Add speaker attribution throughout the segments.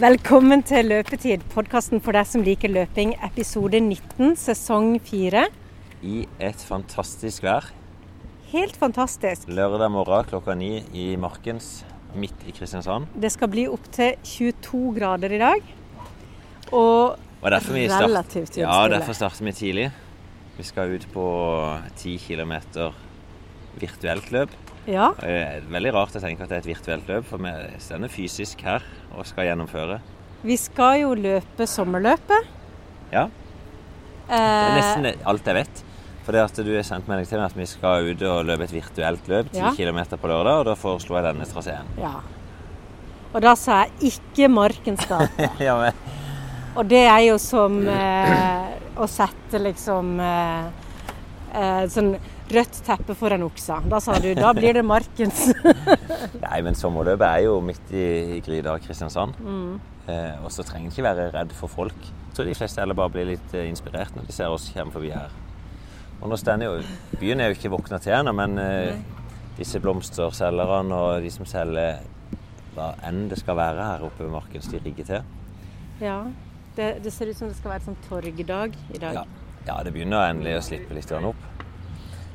Speaker 1: Velkommen til Løpetid, podkasten for deg som liker løping, episode 19, sesong 4.
Speaker 2: i et fantastisk vær.
Speaker 1: Helt fantastisk.
Speaker 2: Lørdag morgen klokka ni i Markens, midt i Kristiansand.
Speaker 1: Det skal bli opptil 22 grader i dag. Og
Speaker 2: Og derfor vi
Speaker 1: Relativt
Speaker 2: start...
Speaker 1: vindstille.
Speaker 2: Ja, derfor starter vi tidlig. Vi skal ut på 10 km virtuelt løp.
Speaker 1: ja,
Speaker 2: Og det er veldig rart å tenke at det er et virtuelt løp, for vi stender fysisk her og skal gjennomføre.
Speaker 1: vi skal jo løpe sommerløpet.
Speaker 2: Ja, det er
Speaker 1: Eh,
Speaker 2: nesten alt jeg vet. For det at du har sendt melding til meg at vi skal ut og løpe et virtuelt løp, 10
Speaker 1: Ja.
Speaker 2: km på lørdag, og da foreslo jeg denne traseen.
Speaker 1: ja. Og da sa jeg ikke Markens gate.
Speaker 2: ja, men
Speaker 1: Og det er jo som eh, å sette liksom eh, eh, sånn rødt teppe foran oksa. Da sa du da blir det Markens.
Speaker 2: Nei, men sommerløpet er jo midt i, i gryta av Kristiansand. Eh, og så trenger en ikke være redd for folk. Jeg tror de fleste heller bare blir litt eh, inspirert når de ser oss komme forbi her. Og nå stender jo Byen er jo ikke våkna til ennå, men eh, disse blomsterselgerne og de som selger hva enn det skal være her oppe ved marken, de rigger til.
Speaker 1: Ja, det, det ser ut som det skal være et sånn torgdag i dag.
Speaker 2: Ja. ja, det begynner endelig å slippe litt grann opp.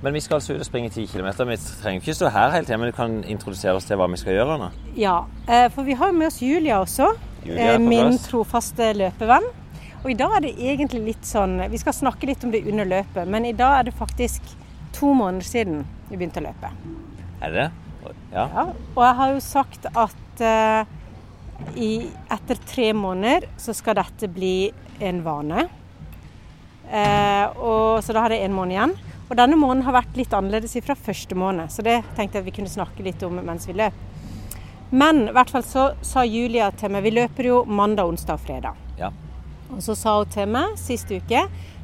Speaker 2: Men vi skal altså ut og springe 10 km. Vi trenger ikke stå her hele tiden, men du kan introdusere oss til hva vi skal gjøre. Anna.
Speaker 1: Ja, eh, for vi har jo med oss Julia også.
Speaker 2: Julia er
Speaker 1: eh,
Speaker 2: på
Speaker 1: min
Speaker 2: plass.
Speaker 1: trofaste løpevenn. Og i dag er det egentlig litt sånn Vi skal snakke litt om det under løpet, men i dag er det faktisk to måneder siden vi begynte å løpe.
Speaker 2: Er det det? Ja.
Speaker 1: Ja, og jeg har jo sagt at eh, i, etter tre måneder så skal dette bli en vane. Eh, og, så da har jeg en måned igjen. Og denne måneden har vært litt annerledes fra første måned, så det tenkte jeg vi kunne snakke litt om mens vi løp. Men i hvert fall så sa Julia til meg Vi løper jo mandag, onsdag og fredag.
Speaker 2: ja.
Speaker 1: Og så sa hun til meg sist uke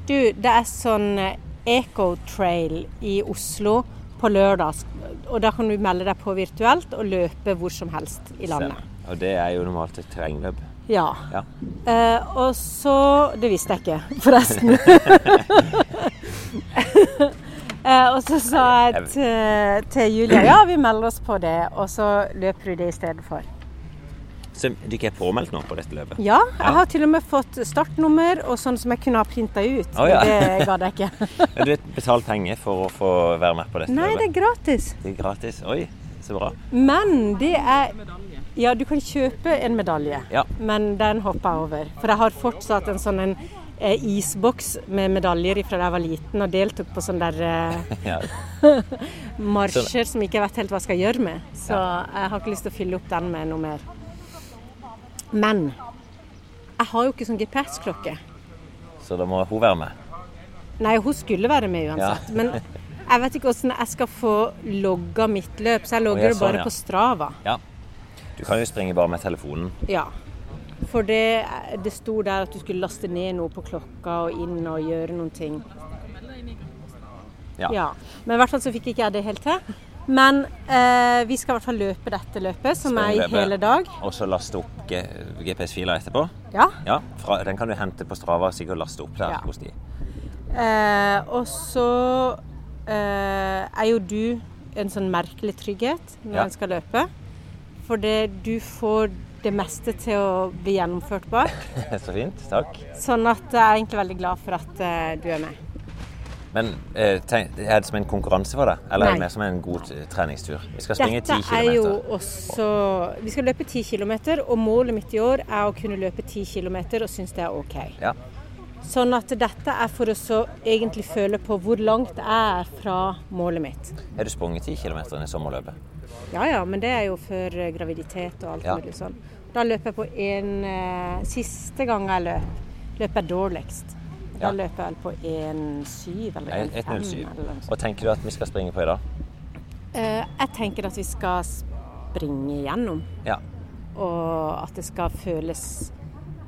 Speaker 1: Du, det er sånn eh, eco-trail i Oslo på lørdag. Og da kan du melde deg på virtuelt og løpe hvor som helst i landet.
Speaker 2: Stemmer. Og det er jo normalt et terrengløp.
Speaker 1: Ja.
Speaker 2: Ja.
Speaker 1: Eh, og så Det visste jeg ikke, forresten. eh, og så sa jeg til, til Julia ja, vi melder oss på det, og så løper du det i stedet for.
Speaker 2: Så du ikke er påmeldt nå på dette løpet?
Speaker 1: Ja, jeg har til og med fått startnummer og sånn som jeg kunne ha printa ut.
Speaker 2: Å, ja.
Speaker 1: men Det gadd jeg ikke.
Speaker 2: Du har betalt penger for å få være med på dette
Speaker 1: Nei, det
Speaker 2: løpet?
Speaker 1: er gratis.
Speaker 2: Det er gratis. Oi, så bra.
Speaker 1: Men det er Ja, du kan kjøpe en medalje,
Speaker 2: Ja.
Speaker 1: men den hopper jeg over. For jeg har fortsatt en sånn en eh, isboks med medaljer fra da jeg var liten og deltok på sånne der eh,
Speaker 2: Ja.
Speaker 1: marsjer som ikke jeg vet helt hva jeg skal gjøre med. Så jeg har ikke lyst til å fylle opp den med noe mer. Men jeg har jo ikke sånn GPS-klokke.
Speaker 2: Så da må hun være med.
Speaker 1: Nei, hun skulle være med uansett.
Speaker 2: Ja.
Speaker 1: Men jeg vet ikke hvordan jeg skal få logga mitt løp, så jeg
Speaker 2: Å, ja,
Speaker 1: logger det
Speaker 2: sånn,
Speaker 1: bare
Speaker 2: ja.
Speaker 1: på Strava.
Speaker 2: Ja. Du kan jo springe bare med telefonen.
Speaker 1: Ja. For det, det sto der at du skulle laste ned noe på klokka og inn og gjøre noen ting.
Speaker 2: Ja.
Speaker 1: Ja. Men i hvert fall så fikk ikke jeg det helt til. Men eh, vi skal i hvert fall løpe dette løpet, som er i
Speaker 2: Springløpet.
Speaker 1: hele dag.
Speaker 2: Og så laste opp G- GPS-filer etterpå.
Speaker 1: Ja.
Speaker 2: Ja, fra, Den kan du hente på Strava sikkert og laste opp der
Speaker 1: Ja.
Speaker 2: hos de.
Speaker 1: Eh, og så eh, er jo du en sånn merkelig trygghet når
Speaker 2: Ja.
Speaker 1: en skal løpe. For det, du får det meste til å bli gjennomført bak.
Speaker 2: så fint. Takk.
Speaker 1: Sånn at jeg er egentlig veldig glad for at eh, du er med.
Speaker 2: Men eh, tenk, er det som en konkurranse for deg? Eller
Speaker 1: Nei.
Speaker 2: er det mer som en god eh, treningstur? Vi skal springe
Speaker 1: Dette
Speaker 2: 10
Speaker 1: er jo
Speaker 2: km.
Speaker 1: også Vi skal løpe 10 km, og målet mitt i år er å kunne løpe 10 km og synes det er OK.
Speaker 2: Ja.
Speaker 1: Sånn at dette er for å så egentlig føle på hvor langt jeg er fra målet mitt.
Speaker 2: Har du sprunget 10 km i sommerløpet?
Speaker 1: Ja ja, men det er jo før eh, graviditet og alt
Speaker 2: Ja.
Speaker 1: mulig sånn. Da løper jeg på en eh, Siste gang jeg løp, løper jeg dårligst. Da
Speaker 2: Ja.
Speaker 1: løper jeg vel på 1,7 eller 1,5
Speaker 2: 1.07.
Speaker 1: eller noe sånt.
Speaker 2: Og tenker du at vi skal springe på i dag?
Speaker 1: Eh, Jeg tenker at vi skal springe igjennom.
Speaker 2: Ja.
Speaker 1: og at det skal føles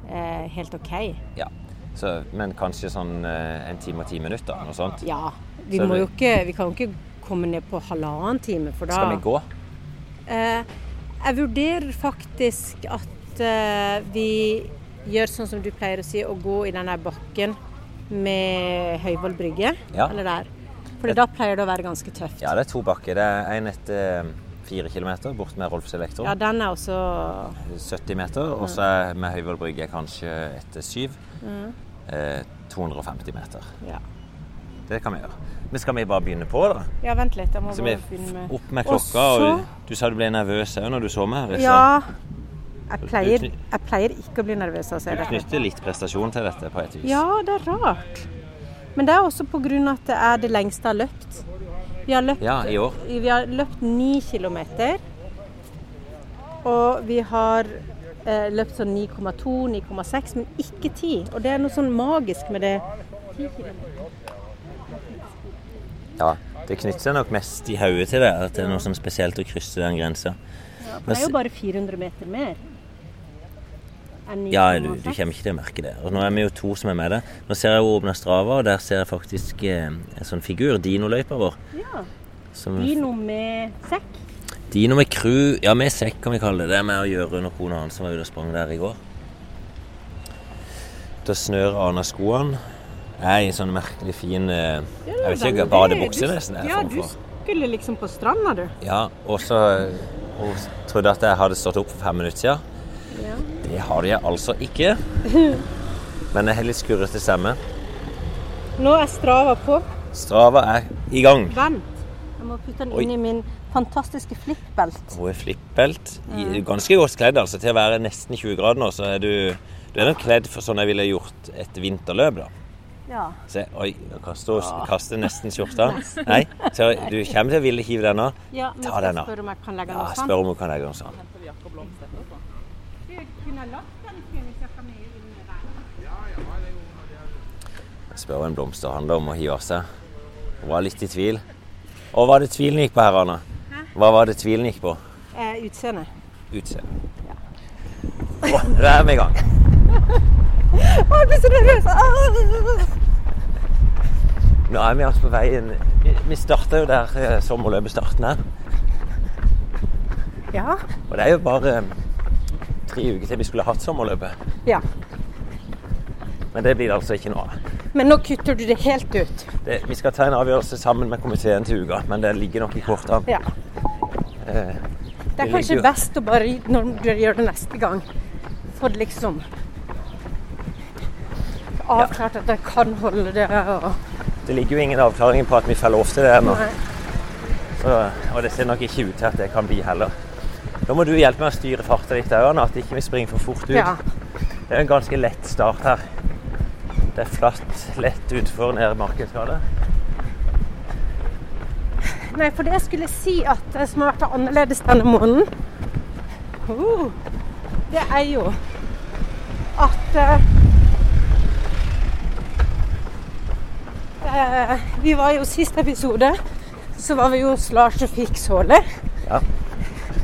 Speaker 1: eh, helt OK.
Speaker 2: ja. Så, men kanskje sånn eh, en time og ti minutter, noe sånt?
Speaker 1: Ja. Vi,
Speaker 2: Så
Speaker 1: må
Speaker 2: det-
Speaker 1: jo ikke, vi kan jo ikke komme ned på halvannen time, for da
Speaker 2: Skal vi gå?
Speaker 1: Eh, jeg vurderer faktisk at eh, vi gjør sånn som du pleier å si, å gå i den der bakken med Høyvoll brygge.
Speaker 2: Ja.
Speaker 1: Eller der. For da pleier det å være ganske tøft.
Speaker 2: Ja, det er to bakker. Det er en etter 4 km bort med Rolfs Elektro.
Speaker 1: Ja, den er også
Speaker 2: 70 meter. Og så er- med Høyvoll brygge er kanskje etter 7.
Speaker 1: mm,
Speaker 2: Eh, 250 meter.
Speaker 1: ja.
Speaker 2: Det kan vi gjøre. Men skal vi bare begynne på, da?
Speaker 1: ja, vent litt. Jeg må
Speaker 2: Så vi
Speaker 1: bare
Speaker 2: er
Speaker 1: begynne
Speaker 2: f-
Speaker 1: med
Speaker 2: opp med
Speaker 1: Og
Speaker 2: klokka.
Speaker 1: så-
Speaker 2: Og du sa du ble nervøs òg når du så meg. Rissa.
Speaker 1: Ja.
Speaker 2: sånn.
Speaker 1: Jeg pleier,
Speaker 2: Du kny-
Speaker 1: jeg pleier ikke å bli nervøs altså. av å se
Speaker 2: Du
Speaker 1: det.
Speaker 2: knytter litt prestasjon til dette på et vis.
Speaker 1: Ja, det er rart. Men det er også på grunn av at det er det lengste jeg har løpt. Vi har løpt,
Speaker 2: Ja, i år.
Speaker 1: vi har løpt ni kilometer. Og vi har eh, løpt sånn 9,2, 9,6, men ikke 10. Og det er noe sånn magisk med det.
Speaker 2: Ja, Det knytter seg nok mest i hodet til det, at det er noe sånn spesielt å krysse den grensa.
Speaker 1: For det er jo bare 400 meter mer. enn
Speaker 2: Ja, du,
Speaker 1: 9,6.
Speaker 2: du kommer ikke til å merke det. Og nå er vi jo to som er med det. Nå ser jeg jo åpna Strava, og der ser jeg faktisk eh, en sånn figur, dinoløypa vår.
Speaker 1: Ja.
Speaker 2: Som,
Speaker 1: Dino med sekk.
Speaker 2: dino med crew, ja med sekk kan vi kalle det. Det er med å gjøre når kona hans var ute og sprang der i går. Da snør Ana skoene. Jeg er i sånn merkelig fin eh, Jeg vet ikke,
Speaker 1: Veldig.
Speaker 2: badebukse
Speaker 1: Du-
Speaker 2: nesten. er
Speaker 1: Ja,
Speaker 2: form
Speaker 1: du
Speaker 2: for.
Speaker 1: skulle liksom på stranda, du.
Speaker 2: Ja, og så hun trodde at jeg hadde stått opp for fem minutter siden.
Speaker 1: Ja.
Speaker 2: Det har jeg altså ikke. Men jeg har litt skurrete stemme.
Speaker 1: Nå er Strava på.
Speaker 2: Strava er i gang.
Speaker 1: Vent. Jeg må putte den
Speaker 2: Oi.
Speaker 1: inn i min fantastiske flippbelt.
Speaker 2: Hun er flippbelt. I- Ganske godt kledd, altså. Til å være nesten 20 grader nå, så er du Du er nok kledd for sånn jeg ville gjort et vinterløp, da.
Speaker 1: Ja.
Speaker 2: Se, oi, nå kaster hun kaster nesten skjorta. Nei, så du kommer til å ville hive den av.
Speaker 1: ja men
Speaker 2: Ta
Speaker 1: skal
Speaker 2: den
Speaker 1: jeg
Speaker 2: da.
Speaker 1: spørre om jeg kan legge den
Speaker 2: Ja,
Speaker 1: opp sånn?
Speaker 2: spør om hun kan legge den sånn. Jeg Spør hva en blomsterhandler om å hive av seg. Hun var litt i tvil. Og hva var det tvilen gikk på her, Anna? Hva var det tvilen gikk på?
Speaker 1: Eh, utseende.
Speaker 2: Utseende. Å, da er vi i gang.
Speaker 1: Å, jeg blir så Ah. nervøs!
Speaker 2: Nå er vi altså på veien Vi starta jo der eh, sommerløpet starten her.
Speaker 1: Ja.
Speaker 2: Og det er jo bare eh, tre uker til vi skulle hatt sommerløpet.
Speaker 1: ja.
Speaker 2: Men det blir det altså ikke nå. av.
Speaker 1: Men nå kutter du det helt ut.
Speaker 2: Det, vi skal ta en avgjørelse sammen med komiteen til uka, men det ligger nok i kortene.
Speaker 1: Ja.
Speaker 2: Eh,
Speaker 1: Det er
Speaker 2: Det
Speaker 1: kanskje
Speaker 2: ligger jo-
Speaker 1: best å bare når du gjør det neste gang. Få det liksom avklart at jeg kan holde det. Og...
Speaker 2: det ligger jo ingen avklaring på at vi får lov til det ennå.
Speaker 1: Nei.
Speaker 2: Så- Og det ser nok ikke ut til at det kan bli heller. Da må du hjelpe meg å styre farten litt, Anna, at ikke vi springer for fort ut.
Speaker 1: Ja.
Speaker 2: Det er en ganske lett start her. Det er flatt, lett utfor nede Markensgata.
Speaker 1: Nei, for det jeg skulle si at det som har vært annerledes denne måneden, uh, det er jo at eh, eh, Vi var jo sist episode, så var vi jo hos Lars og fikk såle.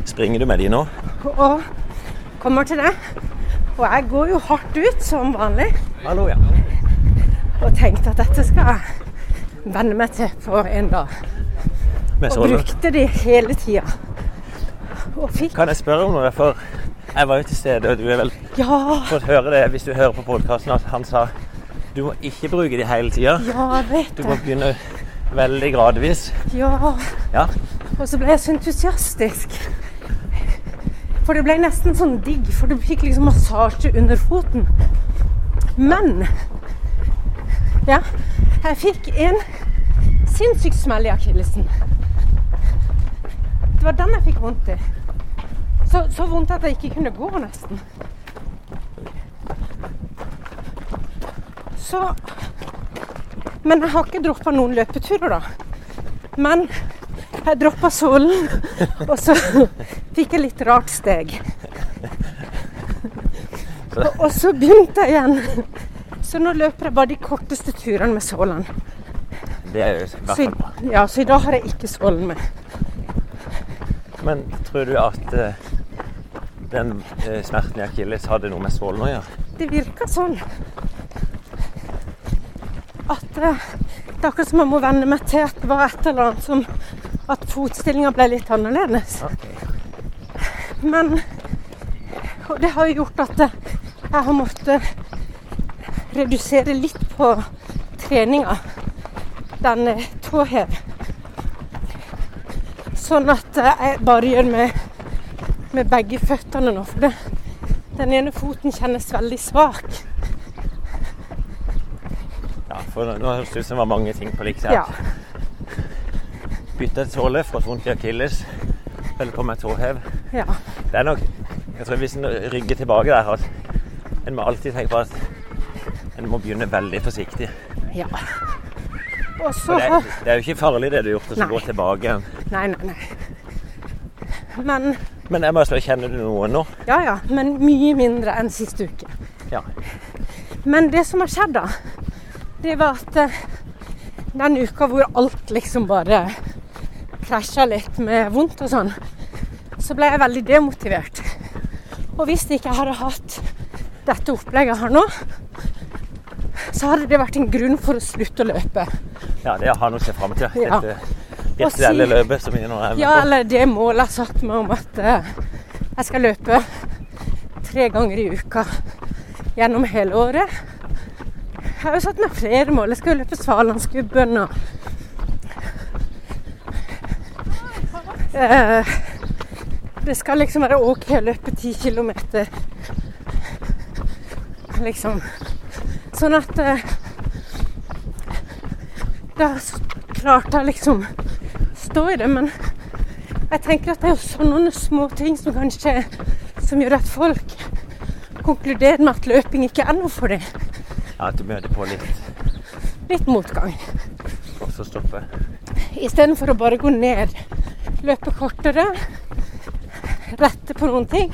Speaker 2: Springer du med de nå?
Speaker 1: Og kommer til det. Og jeg går jo hardt ut som vanlig,
Speaker 2: Hallo, ja.
Speaker 1: og tenkte at dette skal jeg venne meg til på en dag.
Speaker 2: Med
Speaker 1: Og
Speaker 2: såle.
Speaker 1: brukte de hele tida. Og fikk
Speaker 2: Kan jeg spørre om noe? For jeg var jo til stede, og du har vel
Speaker 1: Ja!
Speaker 2: fått høre det hvis du hører på podkasten, at han sa du må ikke bruke de hele tida.
Speaker 1: Ja, jeg vet
Speaker 2: Du
Speaker 1: det.
Speaker 2: må begynne veldig gradvis.
Speaker 1: Ja.
Speaker 2: Ja.
Speaker 1: Og så ble jeg så entusiastisk. For det ble nesten sånn digg, for du fikk liksom massasje under foten. Men Ja, jeg fikk en sinnssyk smell i akillesen. Det var den jeg fikk vondt i. Så, så vondt at jeg ikke kunne gå, nesten. Så Men jeg har ikke droppa noen løpeturer, da. Men jeg droppa sålen, og så fikk jeg litt rart steg. Og- Og så begynte jeg igjen. Så nå løper jeg bare de korteste turene med sålen.
Speaker 2: Det er jo i hvert
Speaker 1: Så,
Speaker 2: fall bra.
Speaker 1: i- ja, så i dag har jeg ikke sålen med.
Speaker 2: Men tror du at eh, den eh, smerten i akilles hadde noe med sålen å gjøre?
Speaker 1: Det virker sånn at eh, det er akkurat som jeg må venne meg til at det var et eller annet som At fotstillinga ble litt annerledes. Men Og det har jo gjort at eh, jeg har måttet redusere litt på treninga. Den eh, tåhev. Sånn at eh, jeg bare gjør med, med begge føttene nå. For det, den ene foten kjennes veldig svak.
Speaker 2: Ja, for nå- nå høres det ut som det var mange ting på likt her.
Speaker 1: Ja.
Speaker 2: Bytte et såle, fått vondt i akilles, holder på med tåhev.
Speaker 1: ja.
Speaker 2: Det er nok Jeg tror hvis en rygger tilbake der, at en må alltid tenke på at en må begynne veldig forsiktig.
Speaker 1: ja. Og så
Speaker 2: For det, er- det er jo ikke farlig det du har gjort, å
Speaker 1: Nei.
Speaker 2: gå tilbake igjen.
Speaker 1: Nei, nei, nei. Men
Speaker 2: Men jeg må slå kjenner du noen nå?
Speaker 1: Ja ja, men mye mindre enn sist uke.
Speaker 2: Ja.
Speaker 1: Men det som har skjedd, da, det var at eh, den uka hvor alt liksom bare krasja litt med vondt og sånn, så ble jeg veldig demotivert. Og hvis ikke jeg hadde hatt dette opplegget her nå, så hadde det vært en grunn for å slutte å løpe.
Speaker 2: ja det er å ha noe å se fram til.
Speaker 1: Ja.
Speaker 2: Dette,
Speaker 1: Og
Speaker 2: dette
Speaker 1: si-
Speaker 2: lille løpet som vi nå er med
Speaker 1: Ja,
Speaker 2: på.
Speaker 1: eller det målet jeg satte meg om at eh, jeg skal løpe tre ganger i uka gjennom hele året. Jeg har jo satt meg flere mål. Jeg skal jo løpe Svalandsgubben og Eh, Det skal liksom være OK å løpe ti kilometer. Liksom. Sånn at eh, Da s- klarte jeg liksom stå i det, men jeg tenker at det er jo sånne små ting som kanskje som gjør at folk konkluderer med at løping ikke er noe for dem.
Speaker 2: Ja, at du møter på litt,
Speaker 1: Litt motgang.
Speaker 2: og så stopper.
Speaker 1: Istedenfor å bare gå ned, løpe kortere, rette på noen ting,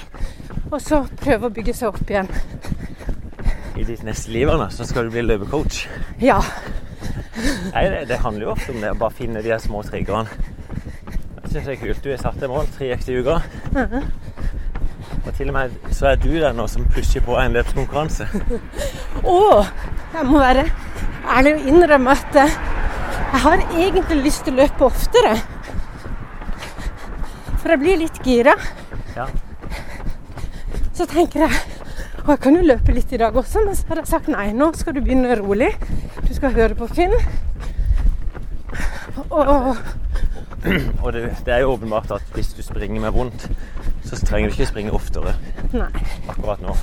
Speaker 1: og så prøve å bygge seg opp igjen.
Speaker 2: I ditt neste liv Anna, så skal du bli løpecoach.
Speaker 1: Ja.
Speaker 2: Nei, det, det handler jo ofte om det, å bare finne de her små triggerne. Jeg synes det er kult. Du har satt deg mål, tre økter i uka. Og til og med så er du der nå som pusher på en løpskonkurranse.
Speaker 1: Og jeg må være ærlig og innrømme at eh, jeg har egentlig lyst til å løpe oftere. For jeg blir litt gira.
Speaker 2: Ja.
Speaker 1: Så tenker jeg og jeg kan jo løpe litt i dag også, men så har jeg sagt nei. Nå skal du begynne rolig. Du skal høre på Finn. Og
Speaker 2: Og det, det er jo åpenbart at hvis du springer med vondt, så trenger du ikke springe oftere
Speaker 1: Nei.
Speaker 2: akkurat nå.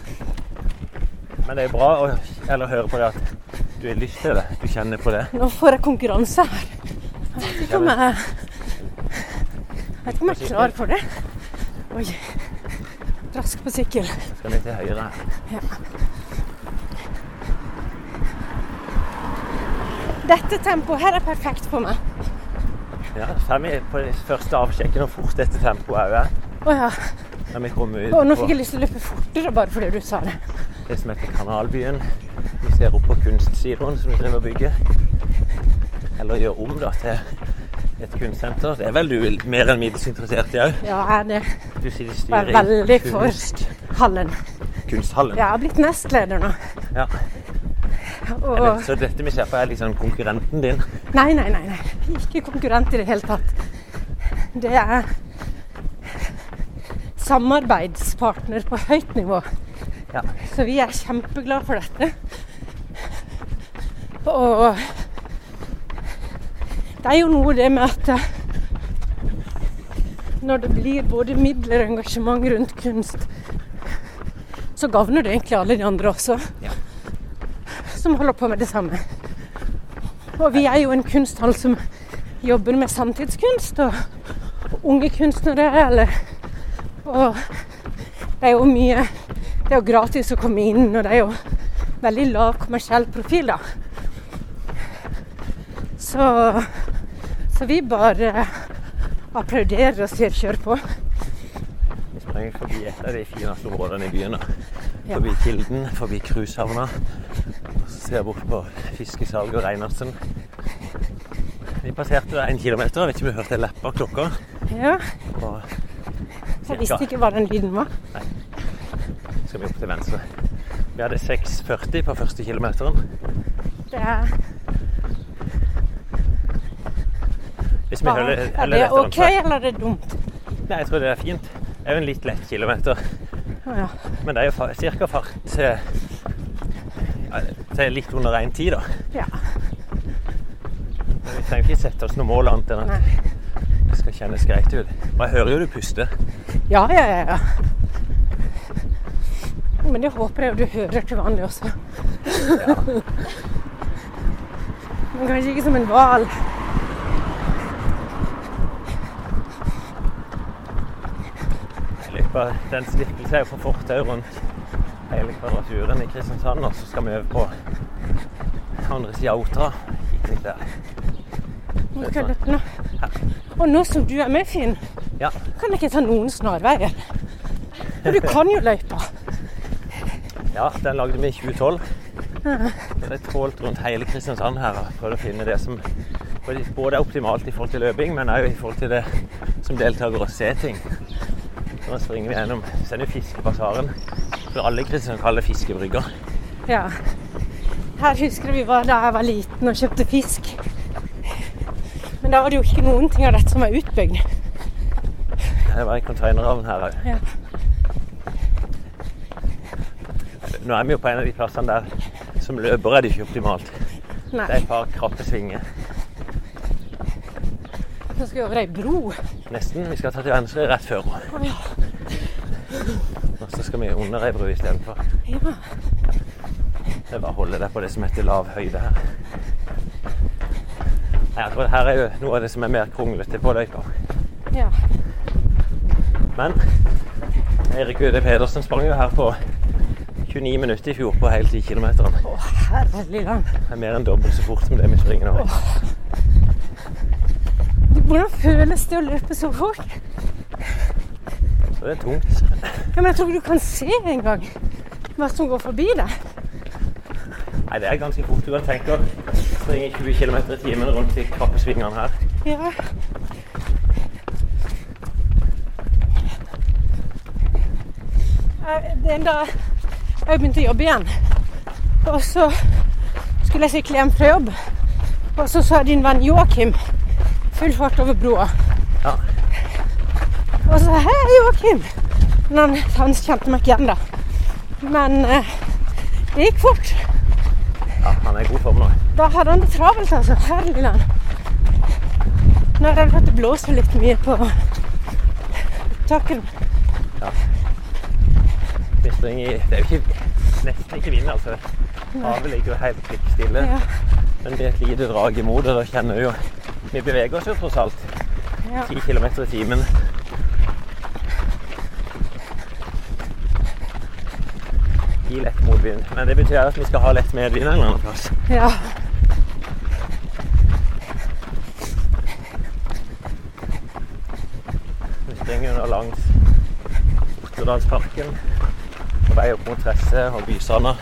Speaker 2: Men det er bra å eller, høre på det at du har lyst til det. Du kjenner på det.
Speaker 1: Nå får jeg konkurranse her. Jeg vet ikke om jeg, jeg, vet ikke om jeg er klar for det. Oi. Rask på sykkel.
Speaker 2: Skal vi til høyre her?
Speaker 1: Dette tempoet her er perfekt for meg.
Speaker 2: Ja, fem i på det første avsjekken og fort dette tempoet òg er.
Speaker 1: Å ja.
Speaker 2: Når vi kommer
Speaker 1: Å, nå
Speaker 2: ut på
Speaker 1: fikk jeg lyst til å løpe fortere bare fordi du sa det.
Speaker 2: det som heter Kanalbyen. Vi ser opp på kunstsiloen som vi driver og bygger. Eller gjør om da til et kunstsenter. Det er vel du vil- mer enn middels interessert i òg?
Speaker 1: Ja, jeg er det.
Speaker 2: Du sitter i
Speaker 1: Jeg
Speaker 2: styret
Speaker 1: er veldig
Speaker 2: i
Speaker 1: for hallen.
Speaker 2: kunsthallen.
Speaker 1: Jeg har blitt nestleder nå.
Speaker 2: Ja.
Speaker 1: Og
Speaker 2: Så dette vi ser på, er liksom konkurrenten din.
Speaker 1: Nei, nei, nei. nei. Ikke konkurrent i det hele tatt. Det er samarbeidspartner på høyt nivå.
Speaker 2: Ja.
Speaker 1: Så vi er kjempeglade for dette. Og det er jo noe det med at eh, når det blir både midler og engasjement rundt kunst, så gagner det egentlig alle de andre også,
Speaker 2: Ja.
Speaker 1: som holder på med det samme. Og vi er jo en kunsthall som jobber med samtidskunst og unge kunstnere. Eller, og det er jo mye Det er jo gratis å komme inn, og det er jo veldig lav kommersiell profil, da. Så, så vi bare eh, applauderer og sier kjør på.
Speaker 2: Vi springer forbi et av de fineste områdene i byen. da.
Speaker 1: Ja.
Speaker 2: Forbi Kilden, forbi cruisehavna. Og så ser jeg bort på fiskesalget og Reinertsen. Vi passerte da en kilometer. Jeg vet ikke om vi hørte leppa klokka.
Speaker 1: Ja,
Speaker 2: Og
Speaker 1: jeg visste ikke hva den lyden var.
Speaker 2: skal vi opp til venstre. Vi hadde 6,40 på første kilometeren.
Speaker 1: Det er,
Speaker 2: Hvis vi
Speaker 1: bare,
Speaker 2: holder,
Speaker 1: er
Speaker 2: holder
Speaker 1: det
Speaker 2: dette
Speaker 1: OK,
Speaker 2: ansvaret.
Speaker 1: eller er det dumt?
Speaker 2: Nei, jeg tror det er fint. Det er jo en litt lett kilometer.
Speaker 1: Å Ja.
Speaker 2: Men det er jo ca. fart til, ja, til litt under 1,10, da.
Speaker 1: ja.
Speaker 2: Men vi trenger ikke sette oss noe mål annet enn at
Speaker 1: Nei.
Speaker 2: vi skal det kjennes greit ut. Og jeg hører jo du puster.
Speaker 1: Ja, ja, ja. ja. Men det håper jeg jo du hører til vanlig også. Men kanskje ikke som en hval.
Speaker 2: Løypa den svirkler seg jo fra fortau rundt hele kvadraturen i Kristiansand, og så skal vi over på andre sida av Otra. Kikke litt der.
Speaker 1: Nå skal jeg løpe nå. Og nå som du er med, Finn,
Speaker 2: Ja,
Speaker 1: kan jeg ikke ta noen snarveier. For du kan jo løypa.
Speaker 2: ja, den lagde vi i 2012. Så det er trålt rundt hele Kristiansand her og prøvd å finne det som både er optimalt i forhold til løping, men òg i forhold til det som deltaker å se ting. Nå springer vi gjennom Så er det jo Fiskepassaren. For alle i Kristiansand kaller det fiskebrygger.
Speaker 1: Ja. Her husker vi var da jeg var liten og kjøpte fisk. Men da var det jo ikke noen ting av dette som var utbygd.
Speaker 2: Det var en containerhavn her òg.
Speaker 1: Ja.
Speaker 2: Nå er vi jo på en av de plassene der som løper er det ikke optimalt. Det er
Speaker 1: Nei.
Speaker 2: et par krappe svinger.
Speaker 1: Nå skal vi over ei bro.
Speaker 2: Nesten. Vi skal ta til venstre rett før. Og så skal vi under ei bru istedenfor.
Speaker 1: Ja.
Speaker 2: Det er bare å holde deg på det som heter lav høyde her. Nei, akkurat her er jo noe av det som er mer kronglete på løypa.
Speaker 1: ja.
Speaker 2: Men Eirik Ude Pedersen sprang jo her på 29 minutter i fjor på hele 10 km.
Speaker 1: Å, herlig land.
Speaker 2: Det er mer enn dobbelt så fort som det vi springer nå.
Speaker 1: Hvordan føles det å løpe så fort?
Speaker 2: Så det er tungt.
Speaker 1: Ja, men jeg tror ikke du kan se engang hva som går forbi deg.
Speaker 2: Nei, det er ganske fort. Du kan tenke å springe 20 km i timen rundt de krappe svingene her.
Speaker 1: Ja. Jeg- Eh, Det er en dag jeg begynte å jobbe igjen. Og så skulle jeg sykle hjem fra jobb. Og så sa din venn Joakim full fart over broa.
Speaker 2: Ja.
Speaker 1: Og så sa jeg, 'Hei, Joakim'. Men han, han kjente meg ikke igjen, da. Men eh, det gikk fort.
Speaker 2: ja, han er i god form nå.
Speaker 1: Da hadde han det travelt, altså. Herlig land. Nå er det vel at det blåser litt mye på takken.
Speaker 2: Vi springer i Det er jo ikke, nesten ikke vind, altså. Havet ligger jo helt klikkstille.
Speaker 1: Ja.
Speaker 2: Men det er et lite drag imot, og da kjenner vi jo Vi beveger oss jo tross alt
Speaker 1: Ja.
Speaker 2: 10 km i timen. I lett motvind. Men det betyr at vi skal ha lett medvind en eller annen plass.
Speaker 1: ja.
Speaker 2: Vi springer nå langs Otterdalsparken på vei opp mot Tresse og Bysanda.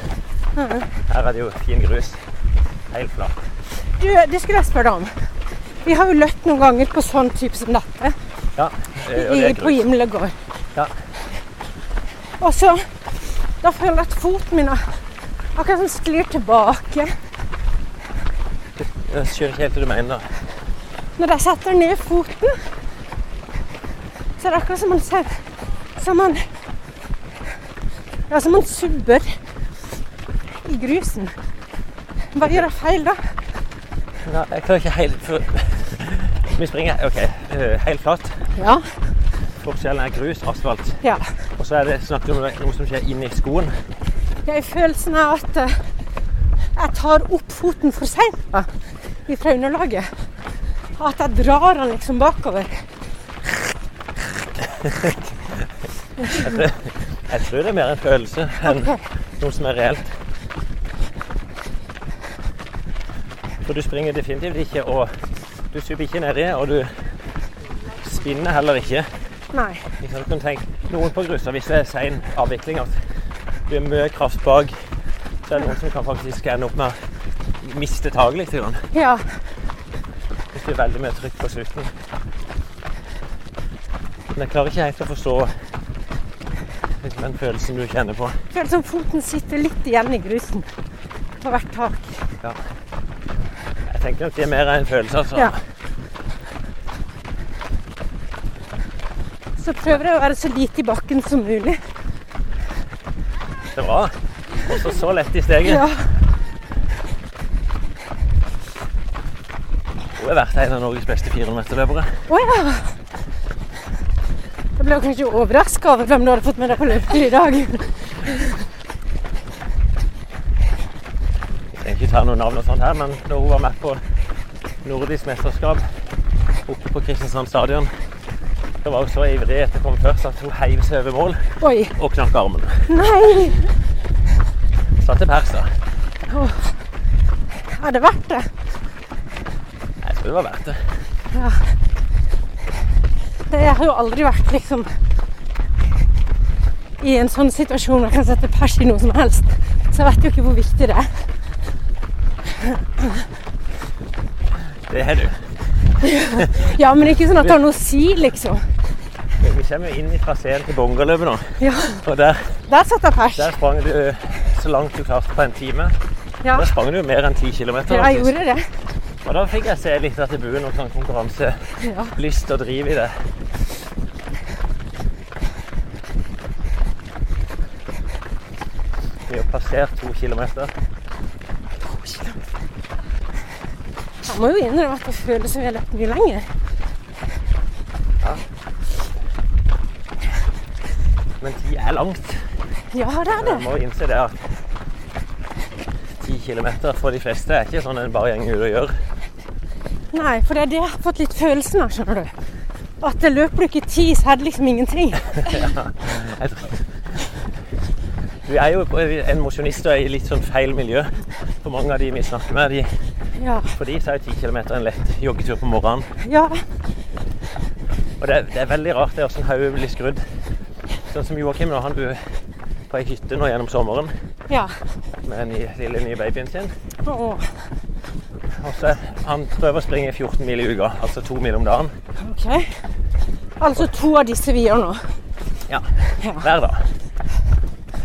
Speaker 2: Her er det jo fin grus. Helt flatt.
Speaker 1: Du, det skulle jeg spørre deg om. Vi har jo løpt noen ganger på sånn type som dette
Speaker 2: Ja, eh, og det
Speaker 1: i,
Speaker 2: er
Speaker 1: på
Speaker 2: grus.
Speaker 1: Gimlegård.
Speaker 2: Ja.
Speaker 1: Og så Da føler jeg at foten min er- akkurat som sklir tilbake.
Speaker 2: Jeg skjønner ikke helt hva du mener.
Speaker 1: Når jeg setter ned foten, så er det akkurat som man ser Som man Ja, som man subber i grusen. Hva gjør jeg feil da?
Speaker 2: Nei, jeg klarer ikke helt for... Vi springer ok, eh, helt flatt.
Speaker 1: Ja.
Speaker 2: Forskjellen er grus, asfalt.
Speaker 1: ja.
Speaker 2: Og så er det snakk om noe som skjer inni skoen.
Speaker 1: Jeg har følelsen av at eh, jeg tar opp foten for seint da, fra underlaget. At jeg drar den liksom bakover.
Speaker 2: Jeg tror det er mer en følelse enn noe som er reelt. For du springer definitivt ikke, og du super ikke nedi, og du spinner heller ikke.
Speaker 1: Nei.
Speaker 2: Ikke sant? Du kan tenke noen på grusa hvis det er sein avvikling. At det er mye kraft bak. Så er det noen som kan faktisk ende opp med å miste taket litt. Grann.
Speaker 1: Ja.
Speaker 2: Hvis det er veldig mye trykk på slutten. Men jeg klarer ikke helt å forstå den følelsen du kjenner på.
Speaker 1: Føles som foten sitter litt igjen i grusen på hvert tak.
Speaker 2: Jeg tenker nok det er mer en følelse, altså.
Speaker 1: Ja. Så prøver jeg å være så lite i bakken som mulig.
Speaker 2: Det er bra. Også så lett i steget.
Speaker 1: Ja.
Speaker 2: Hun har vært en av Norges beste 400-meterløpere.
Speaker 1: Å ja! Jeg ble kanskje overraska over hvem du hadde fått med deg på løpetur i dag.
Speaker 2: Jeg trenger ikke ta noen navn og sånt her, men da hun var med på nordisk mesterskap oppe på Kristiansand stadion, da var hun så ivrig etter å komme først at hun heiv seg over mål
Speaker 1: Oi.
Speaker 2: og knakk armen.
Speaker 1: Nei!
Speaker 2: Satte pers da.
Speaker 1: Er det verdt det?
Speaker 2: Jeg tror det var verdt det.
Speaker 1: Det jeg har jo aldri vært liksom i en sånn situasjon hvor jeg kan sette pers i noe som helst. Så jeg vet jo ikke hvor viktig det er.
Speaker 2: Det har du.
Speaker 1: Ja, men ikke sånn at det har noe å si, liksom.
Speaker 2: Vi vi kommer jo inn i traseen til Bongaløpet nå,
Speaker 1: Ja,
Speaker 2: og der,
Speaker 1: Der satt jeg pers.
Speaker 2: der sprang du eh, så langt du klarte på en time.
Speaker 1: Ja,
Speaker 2: Der sprang du jo mer enn 10 kilometer.
Speaker 1: ja jeg
Speaker 2: faktisk.
Speaker 1: gjorde det.
Speaker 2: Og da fikk jeg se litt at det buer noe sånn konkurranselyst
Speaker 1: Ja.
Speaker 2: og driv i det. Vi har passert to kilometer.
Speaker 1: Jeg må jo innrømme at det føles som vi har løpt mye lenger.
Speaker 2: Men ti er langt.
Speaker 1: Ja, det er
Speaker 2: Så
Speaker 1: det.
Speaker 2: jeg må innse det at ti kilometer for de fleste er ikke sånn en bare gjeng ut og gjør.
Speaker 1: Nei, for det er det jeg har fått litt følelsen av, skjønner du. At det løper du ikke ti, så er det liksom ingenting.
Speaker 2: Jeg tror- Du er jo på- en mosjonist og er i litt sånn feil miljø. For mange av de vi snakker med, de,
Speaker 1: Ja.
Speaker 2: for de så er jo ti kilometer en lett joggetur på morgenen.
Speaker 1: ja.
Speaker 2: Og det er, det er veldig rart det hvordan hodet blir skrudd. Sånn som Joakim nå, han bor på ei hytte nå gjennom sommeren
Speaker 1: Ja.
Speaker 2: med den nye- lille nye babyen sin.
Speaker 1: Å,
Speaker 2: Og så er- han prøver å springe 14 mil i uka, altså to mil om dagen.
Speaker 1: OK. Altså to av disse vi gjør nå.
Speaker 2: Ja,
Speaker 1: Ja.
Speaker 2: Hver dag.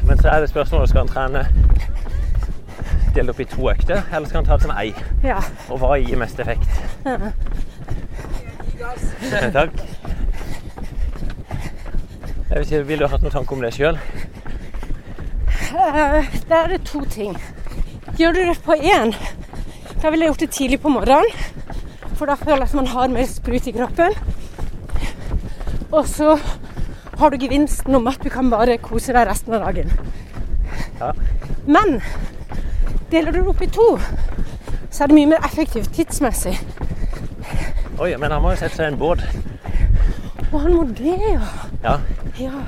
Speaker 2: Men så er det spørsmålet skal han trene delt opp i to økter, eller skal han ta det som ei?
Speaker 1: Ja.
Speaker 2: Og hva gir mest effekt? Takk. Jeg vet ikke, Vil du ha hatt noen tanke om det sjøl?
Speaker 1: Eh, Der er det to ting. Gjør du det på én, da ville jeg gjort det tidlig på morgenen. For da føler jeg at man har mer sprut i kroppen. Og så har du gevinsten om at du kan bare kose deg resten av dagen.
Speaker 2: Ja.
Speaker 1: Men deler du det opp i to, så er det mye mer effektivt tidsmessig.
Speaker 2: Oi, men han må jo sette seg i en båt.
Speaker 1: Og han må det, ja.
Speaker 2: Ja.
Speaker 1: ja.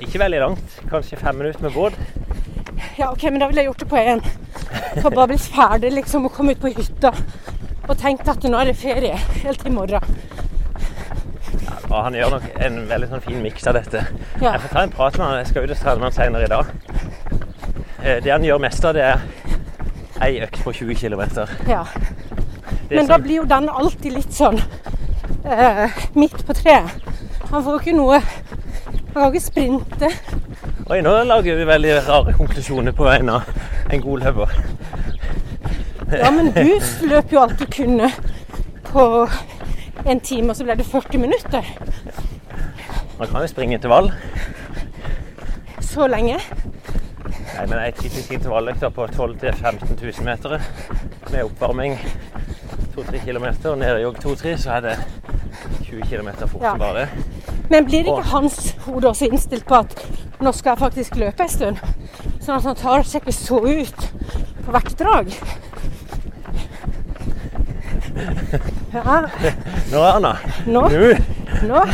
Speaker 2: Ikke veldig langt. Kanskje fem minutter med båt.
Speaker 1: Ja, ok, men da ville jeg gjort det på én. For bare bli ferdig liksom og komme ut på hytta. Og tenkt at nå er det ferie helt til i morgen.
Speaker 2: Og han gjør nok en veldig sånn fin miks av dette.
Speaker 1: Ja.
Speaker 2: Jeg får ta en prat med han. Jeg skal ut og trene med han senere i dag. Eh, Det han gjør mest av, det er ei økt på 20 km.
Speaker 1: Ja. Men
Speaker 2: sånn-
Speaker 1: da blir jo den alltid litt sånn eh, midt på treet. Han får jo ikke noe Han kan ikke sprinte.
Speaker 2: Oi, nå lager vi veldig rare konklusjoner på vegne av en god løper.
Speaker 1: Ja, men du løp jo alt du kunne på en time, og så ble det 40 minutter.
Speaker 2: Man kan jo springe intervall.
Speaker 1: Så lenge.
Speaker 2: Nei, men ei typisk intervalløkt da liksom, på 12 000-15 000 meter med oppvarming 2-3 km, nede i jogg 2-3, så er det 20 km fort
Speaker 1: Ja.
Speaker 2: som bare.
Speaker 1: Men blir ikke hans hode også innstilt på at nå skal jeg faktisk løpe en stund? Sånn at han tar seg ikke så ut på hvert drag. Ja,
Speaker 2: Nå, Anna.
Speaker 1: nå,
Speaker 2: Nå.
Speaker 1: nå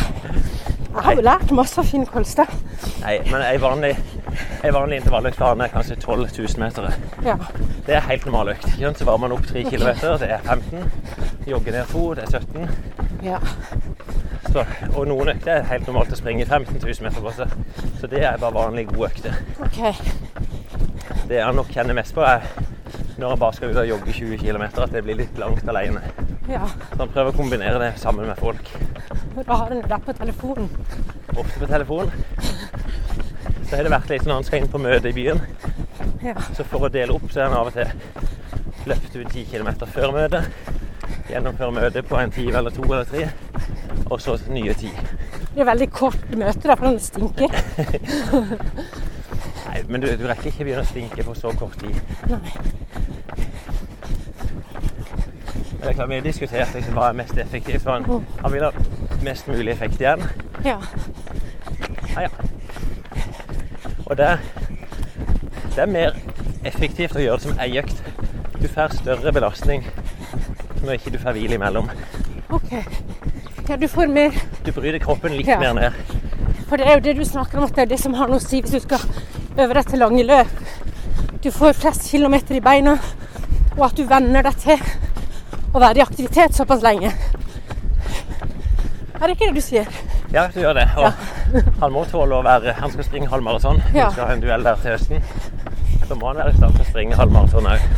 Speaker 1: Jeg har jo lært masse av Finn Kolstad.
Speaker 2: Nei, men ei vanlig, ei vanlig intervalløkt for han er kanskje 12 000 meter.
Speaker 1: Ja.
Speaker 2: Det er helt normal økt. ikke sant? Så varmer man opp 3 km, det er 15. Jogger ned 2, det er 17.
Speaker 1: ja.
Speaker 2: Så, og noen økter er helt normalt å springe 15 000 meter på seg. Så det er bare vanlig god økte.
Speaker 1: OK.
Speaker 2: Det han nok kjenner mest på, er når han bare skal ut og jogge 20 km, at det blir litt langt alene.
Speaker 1: Ja.
Speaker 2: Så han prøver å kombinere det sammen med folk.
Speaker 1: Da har han det der på telefonen.
Speaker 2: Ofte på telefon. Så har det vært litt når han skal inn på møte i byen.
Speaker 1: Ja.
Speaker 2: Så for å dele opp, så er han av og til løpt ut 10 km før møtet. Gjennomføre møtet på en time eller to eller tre. Og så nye ti.
Speaker 1: Det er veldig kort møte, da, for han stinker.
Speaker 2: Nei, men du, du rekker ikke begynne å stinke på så kort tid.
Speaker 1: Nei.
Speaker 2: Men Det er klart, Vi har diskutert liksom, hva er mest effektivt. Hva han, han vil ha mest mulig effekt igjen.
Speaker 1: Ja.
Speaker 2: Ja, ja. Og det, det er mer effektivt å gjøre det som ei økt. Du får større belastning når ikke du får hvile imellom.
Speaker 1: OK. Ja, du får mer
Speaker 2: Du bryter kroppen litt
Speaker 1: Ja.
Speaker 2: mer ned.
Speaker 1: For det er jo det du snakker om, at det er det som har noe å si hvis du skal øve deg til lange løp. Du får flest kilometer i beina, og at du venner deg til å være i aktivitet såpass lenge. Er det ikke det du sier?
Speaker 2: Ja, du gjør det. Og han må tåle å være Han skal springe halvmaraton.
Speaker 1: Ja.
Speaker 2: Vi skal ha en duell der til høsten. Da må han være i stand til å springe halvmaraton òg.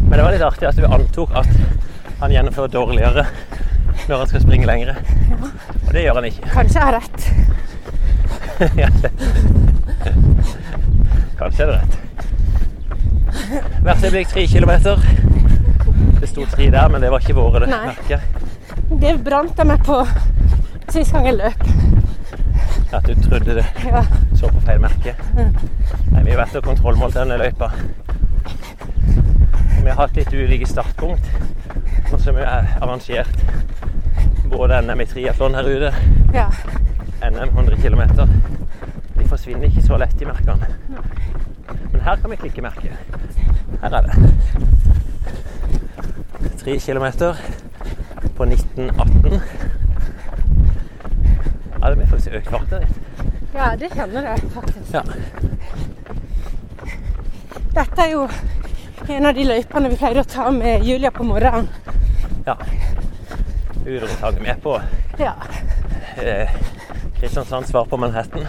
Speaker 2: Men det var litt artig at du antok at han gjennomfører dårligere når han skal springe lengre. Og det gjør han ikke.
Speaker 1: Kanskje jeg har rett.
Speaker 2: Kanskje er det rett. Hvert øyeblikk tre kilometer. Det sto tre der, men det var ikke våre det
Speaker 1: Nei.
Speaker 2: merket.
Speaker 1: Det brant jeg meg på sist gang jeg løp.
Speaker 2: At du trodde det
Speaker 1: Ja.
Speaker 2: så på feil merke. Nei, vi har vært og kontrollmålt denne løypa. Og vi har hatt litt ulike startpunkt. Og så har vi er arrangert både NM i triatlon her ute,
Speaker 1: ja.
Speaker 2: NM 100 km. De forsvinner ikke så lett i merkene. Men her kan vi klikke merket. Her er det. Tre kilometer på 1918. Ja, det blir faktisk økt farten litt.
Speaker 1: Ja, det kjenner jeg faktisk.
Speaker 2: Ja.
Speaker 1: Dette er jo en av de løypene vi pleier å ta med Julia på morgenen.
Speaker 2: ja. Urotaket med på
Speaker 1: Ja.
Speaker 2: eh, Kristiansands svar på Manhattan.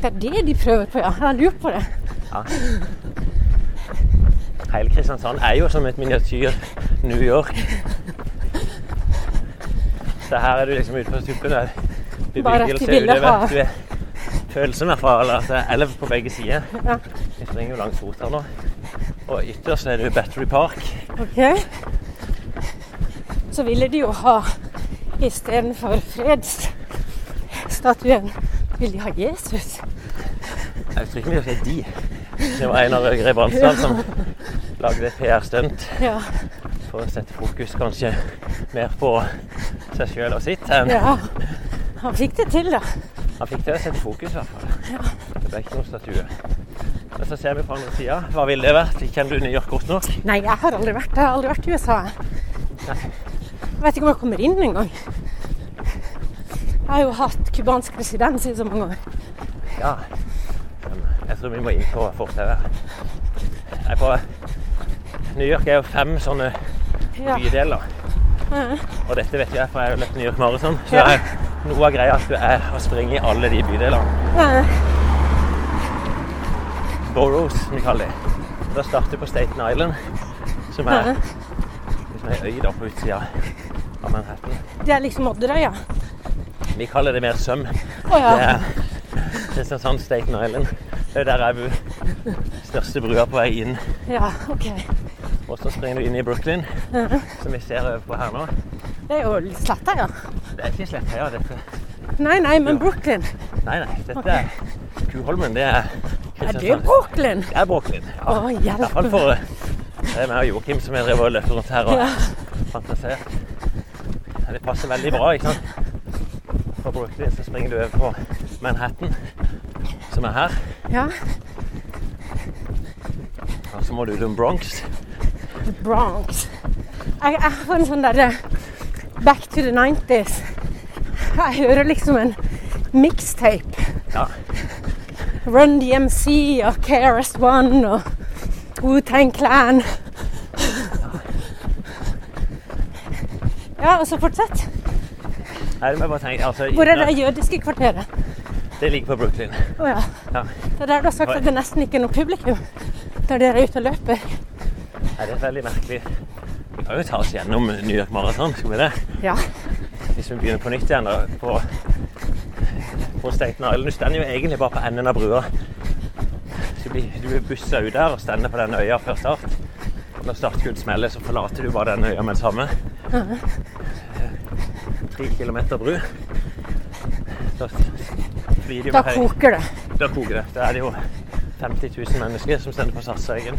Speaker 1: Det er det de prøver på, ja. Jeg har lurt på det.
Speaker 2: Hele Kristiansand er jo som et miniatyr New York. Så her er du liksom ute på tuppen der. Du
Speaker 1: Bare at
Speaker 2: vil
Speaker 1: de
Speaker 2: se
Speaker 1: ville
Speaker 2: utover.
Speaker 1: ha-
Speaker 2: Du er følelsen derfra, eller at det er elv på begge sider.
Speaker 1: Ja.
Speaker 2: Vi springer jo langs fot her nå. Og ytterst er det jo Battery Park.
Speaker 1: Ok. Så ville de jo ha istedenfor fredsstatuen, ville de ha Jesus.
Speaker 2: Jeg tror ikke vi sier de. Det var Einar Øgre Bransdal som lagde et PR-stunt
Speaker 1: Ja.
Speaker 2: for å sette fokus kanskje mer på seg sjøl og sitt. enn-
Speaker 1: ja. Han fikk det til, da.
Speaker 2: Han fikk til å sette fokus, i hvert fall. Det ble ikke noen statue. Men så ser vi på andre sida. Hva ville det vært? Kjenner du New York godt nok?
Speaker 1: Nei, jeg har aldri vært der. Jeg har aldri vært i USA. jeg. Jeg vet ikke om jeg kommer inn engang. Jeg har jo hatt cubansk president i så mange år.
Speaker 2: Ja. Men jeg tror vi må inn på fortauet. Nei, på New York er jo fem sånne
Speaker 1: Ja.
Speaker 2: bydeler.
Speaker 1: Ja.
Speaker 2: Og dette vet jeg, for jeg har jo løpt New York Marathon. Så
Speaker 1: Ja.
Speaker 2: det er noe av greia at du er å springe i alle de bydelene.
Speaker 1: Ja.
Speaker 2: Boroughs, som vi kaller det. Da starter du på Staten Island, som er
Speaker 1: Ja.
Speaker 2: liksom ei øy da på utsida av Manhattan.
Speaker 1: Det er liksom Odderøya.
Speaker 2: Vi kaller det mer søm.
Speaker 1: Å ja.
Speaker 2: Det er Kristiansand Staten Island. Det er der jeg bor. Største brua på vei inn.
Speaker 1: ja. OK.
Speaker 2: Og så springer du inn i Brooklyn, som vi ser over på her nå.
Speaker 1: Det er jo sletta, ja.
Speaker 2: Det er ikke Slettøya, dette.
Speaker 1: Nei, nei, men Brooklyn.
Speaker 2: Nei, nei. Dette er Kuholmen. Det er
Speaker 1: Er det
Speaker 2: Kristiansand.
Speaker 1: Brooklyn?
Speaker 2: Det er Brooklyn.
Speaker 1: Å,
Speaker 2: I hvert fall
Speaker 1: hjelp.
Speaker 2: for eh, det er meg og Joakim som er drevet og løpt rundt her og
Speaker 1: Ja.
Speaker 2: fantasert. Ja, Det passer veldig bra, ikke sant? Fra Brooklyn så springer du over på Manhattan, som er her.
Speaker 1: ja.
Speaker 2: Og så må du utom Bronx.
Speaker 1: Bronx. Jeg, jeg får en sånn derre Back to the 90s. Jeg hører liksom en mixtape.
Speaker 2: Ja.
Speaker 1: Run DMC og KRS-One og Wu-Tang Clan. Ja, og så fortsett.
Speaker 2: Nei, det må jeg bare tenke. Altså,
Speaker 1: Hvor er det
Speaker 2: Nei,
Speaker 1: jødiske kvarteret?
Speaker 2: det ligger på Brooklyn.
Speaker 1: Å ja.
Speaker 2: Ja.
Speaker 1: Det er der du har sagt at det nesten ikke er noe publikum. Der dere er ute og løper.
Speaker 2: Nei, det er veldig merkelig. Vi kan jo ta oss gjennom New York Marathon, skal vi det?
Speaker 1: Ja.
Speaker 2: Hvis vi begynner på nytt igjen da, på, på Staten Island. Du stender jo egentlig bare på enden av brua. Så du blir, du blir bussa ut der og stender på den øya før start. Når startkudd smeller, så forlater du bare den øya med det samme. Tre kilometer bru. Da flyr de
Speaker 1: Da
Speaker 2: med høy-
Speaker 1: koker det.
Speaker 2: Da koker det. Da er det jo 50 000 mennesker som stender på Sarsøyen.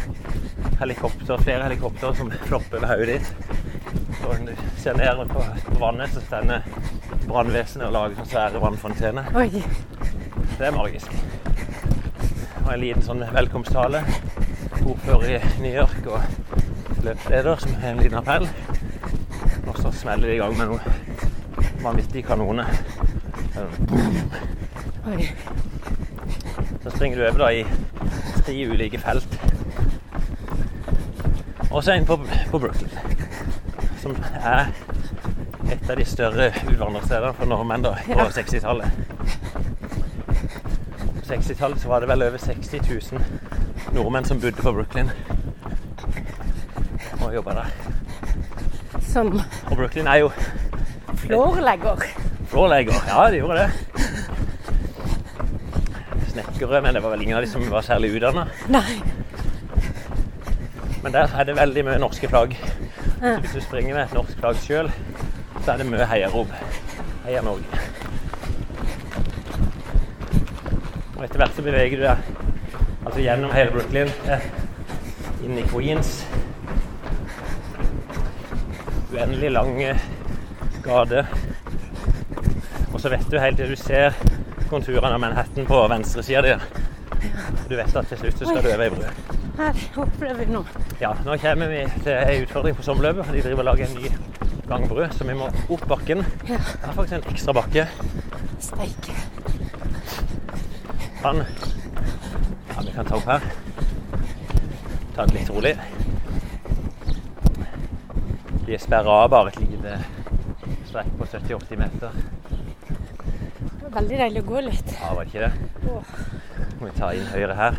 Speaker 2: helikopter, flere helikopter som flopper over hodet ditt. Og når du ser ned på på vannet, så stender brannvesenet og lager sånne svære vannfontener.
Speaker 1: Oi.
Speaker 2: Det er magisk. Og en liten sånn velkomsttale. Ordfører i New York og løpsleder som har en liten appell. Og så smeller de i gang med noen vanvittige kanoner.
Speaker 1: Oi.
Speaker 2: Så springer du over da i tre ulike felt. Og så en på, på Brooklyn, som er et av de større utvandrerstedene for nordmenn da, på
Speaker 1: Ja.
Speaker 2: 60-tallet. På 60-tallet så var det vel over 60 000 nordmenn som bodde på Brooklyn og jobba der.
Speaker 1: Som
Speaker 2: Og Brooklyn er jo
Speaker 1: flårlegger.
Speaker 2: flårlegger. Ja, de gjorde det. Snekkere, men det var vel ingen av de som var særlig utdanna.
Speaker 1: Nei.
Speaker 2: Men der er det veldig mye norske flagg. Så hvis du springer med et norsk flagg sjøl, så er det mye heiarop. Heia Norge. Og etter hvert så beveger du deg altså gjennom hele Brooklyn, eh, inn i Queens. Uendelig lang eh, gate. Og så vet du helt til du ser konturene av Manhattan på venstre sida di. Du vet at til slutt så skal du over i brød.
Speaker 1: Her opplever vi nå.
Speaker 2: Ja, nå kommer vi til en utfordring på sommerløpet. for De driver og lager en ny gangbru, så vi må opp bakken.
Speaker 1: Ja.
Speaker 2: Det er faktisk en ekstra bakke.
Speaker 1: Steike.
Speaker 2: Han Ja, vi kan ta opp her. Ta det litt rolig. De sperrer av bare et lite strekk på 70-80 meter.
Speaker 1: Det var Veldig deilig å gå litt.
Speaker 2: Ja, var det ikke det?
Speaker 1: Åh.
Speaker 2: Må vi ta inn høyre her.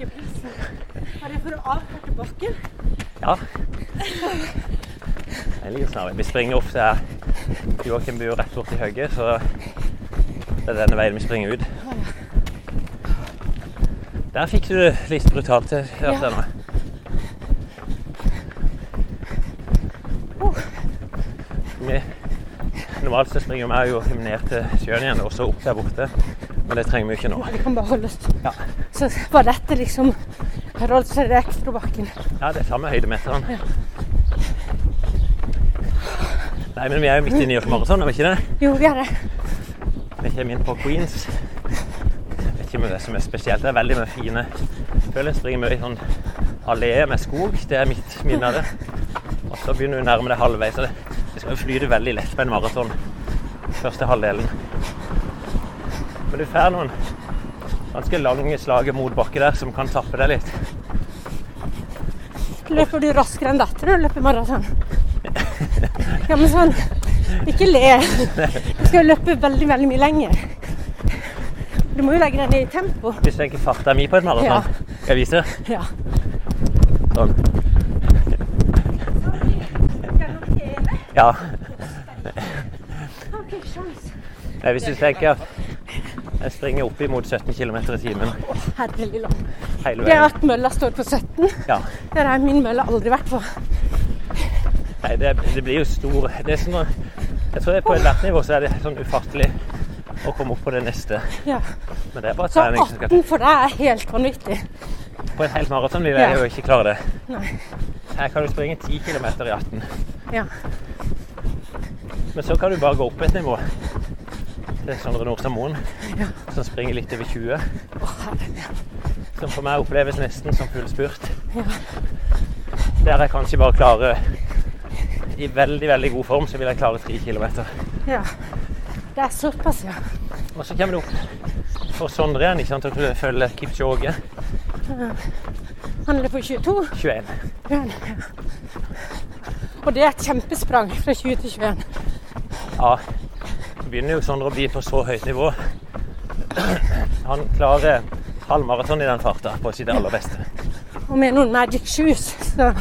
Speaker 1: Er det for å avkorte bakken?
Speaker 2: Ja. Jeg liker snarvei. Vi springer opp til her. Joakim bor jo rett borti høyet, så det er denne veien vi springer ut. Der fikk du det litt brutalt til. Ja.
Speaker 1: Ja.
Speaker 2: Vi, normalt så springer vi og Joakim ned til sjøen igjen, og så opp der borte. Men det trenger vi jo ikke nå.
Speaker 1: Ja, vi kan bare holde oss.
Speaker 2: Ja.
Speaker 1: Så var dette liksom Her holdt seg det ekstra bakken.
Speaker 2: Ja, det er samme høydemeteren. Nei, men vi er jo midt i New York Marathon, er vi ikke det?
Speaker 1: Jo, vi er det.
Speaker 2: Vi kommer inn på Queens. Jeg vet ikke om det er som er spesielt. Det er veldig mye fine Jeg føler jeg springer mye i sånn allé med skog. Det er mitt minne av det. Og så begynner vi å nærme det halvveis. så Det det skal jo flyte veldig lett på en maraton. Første halvdelen. Men du får noen ganske lange slag mot bakke der som kan tappe deg litt.
Speaker 1: Løper du raskere enn dette når du løper maraton? Ja, men sånn Ikke le. Du skal jo løpe veldig, veldig mye lenger. Du må jo legge deg ned i tempo.
Speaker 2: Hvis du tenker farta mi på et maraton, skal jeg vise?
Speaker 1: Ja.
Speaker 2: Sånn. Ja. Nei, hvis du tenker at jeg springer opp imot 17 km i timen
Speaker 1: Herlig land.
Speaker 2: hele
Speaker 1: Det
Speaker 2: veien.
Speaker 1: at mølla står på 17,
Speaker 2: Ja.
Speaker 1: det har min mølle aldri vært på.
Speaker 2: Nei, det, det blir jo stor det er sånn, å- Jeg tror det er på ethvert nivå så er det sånn ufattelig å komme opp på det neste.
Speaker 1: Ja.
Speaker 2: Men det er bare
Speaker 1: Så
Speaker 2: trening som skal til.
Speaker 1: 18 for deg er helt vanvittig.
Speaker 2: På et helt maraton vil jeg
Speaker 1: Ja.
Speaker 2: jo ikke klare det.
Speaker 1: Nei.
Speaker 2: Her kan du springe 10 km i 18,
Speaker 1: Ja.
Speaker 2: men så kan du bare gå opp et nivå. Det er Sondre Nordstad Moen som springer litt over 20.
Speaker 1: Å, herregud.
Speaker 2: som for meg oppleves nesten som full spurt. Der jeg kanskje bare klarer I veldig, veldig god form så vil jeg klare tre kilometer.
Speaker 1: Ja. Det er såpass, ja.
Speaker 2: Og så kommer det opp for Sondre igjen, ikke sant, og følger Kipchoge
Speaker 1: Han løper 22.
Speaker 2: 21.
Speaker 1: Bjørn. Og det er et kjempesprang fra 20 til 21.
Speaker 2: Ja, så begynner jo Sondre å bli på så høyt nivå. Han klarer halv maraton i den farta på sitt aller beste.
Speaker 1: Og med noen magic shoes. Så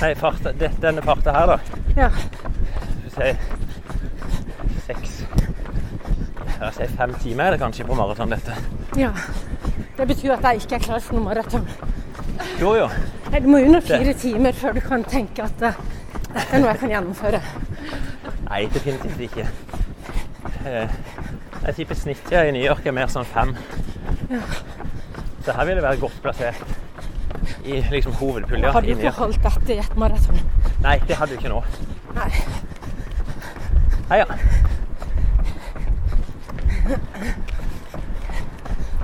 Speaker 2: Nei, farta, det, denne farta her, da.
Speaker 1: ja.
Speaker 2: Du sier seks Jeg sier fem timer er det kanskje på maraton, dette.
Speaker 1: ja. Det betyr at jeg ikke er klar for noen maraton.
Speaker 2: Jo, jo.
Speaker 1: Nei, Du må under fire timer før du kan tenke at eh, dette er noe jeg kan gjennomføre.
Speaker 2: Nei, definitivt ikke. Eh, Jeg tipper snittet i New York er mer sånn fem. Så her vil det være godt plassert i liksom hovedpulja.
Speaker 1: Har du
Speaker 2: i New York.
Speaker 1: forholdt dette i et maraton?
Speaker 2: Nei, det hadde du ikke nå.
Speaker 1: Nei.
Speaker 2: Hei, ja.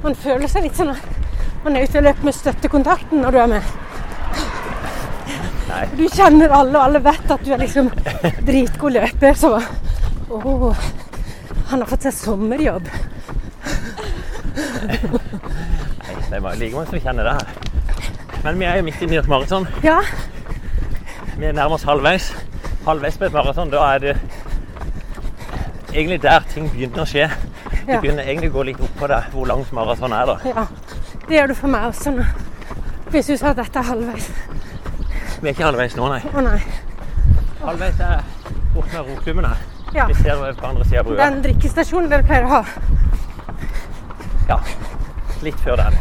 Speaker 1: Man føler seg litt sånn at man er ute og løper med støttekontakten når du er med.
Speaker 2: Nei.
Speaker 1: Du kjenner alle, og alle vet at du er liksom dritgod løper, så Å, han har fått seg sommerjobb.
Speaker 2: Nei, det er bare like mange som kjenner det her. Men vi er jo midt i New York Marathon.
Speaker 1: Ja,
Speaker 2: Vi er nærmest halvveis. Halvveis på et maraton, da er det egentlig der ting begynner å skje. Det
Speaker 1: Ja.
Speaker 2: begynner egentlig å gå litt opp på det, hvor langt maraton er, da.
Speaker 1: ja. Det gjør du for meg også nå. Hvis du sa at dette er halvveis.
Speaker 2: Vi er ikke halvveis nå, nei.
Speaker 1: Å nei.
Speaker 2: Halvveis er bort med roklubben her.
Speaker 1: Ja.
Speaker 2: Vi ser over på andre sida av brua.
Speaker 1: Den drikkestasjonen dere pleier å ha.
Speaker 2: Ja. Litt før den.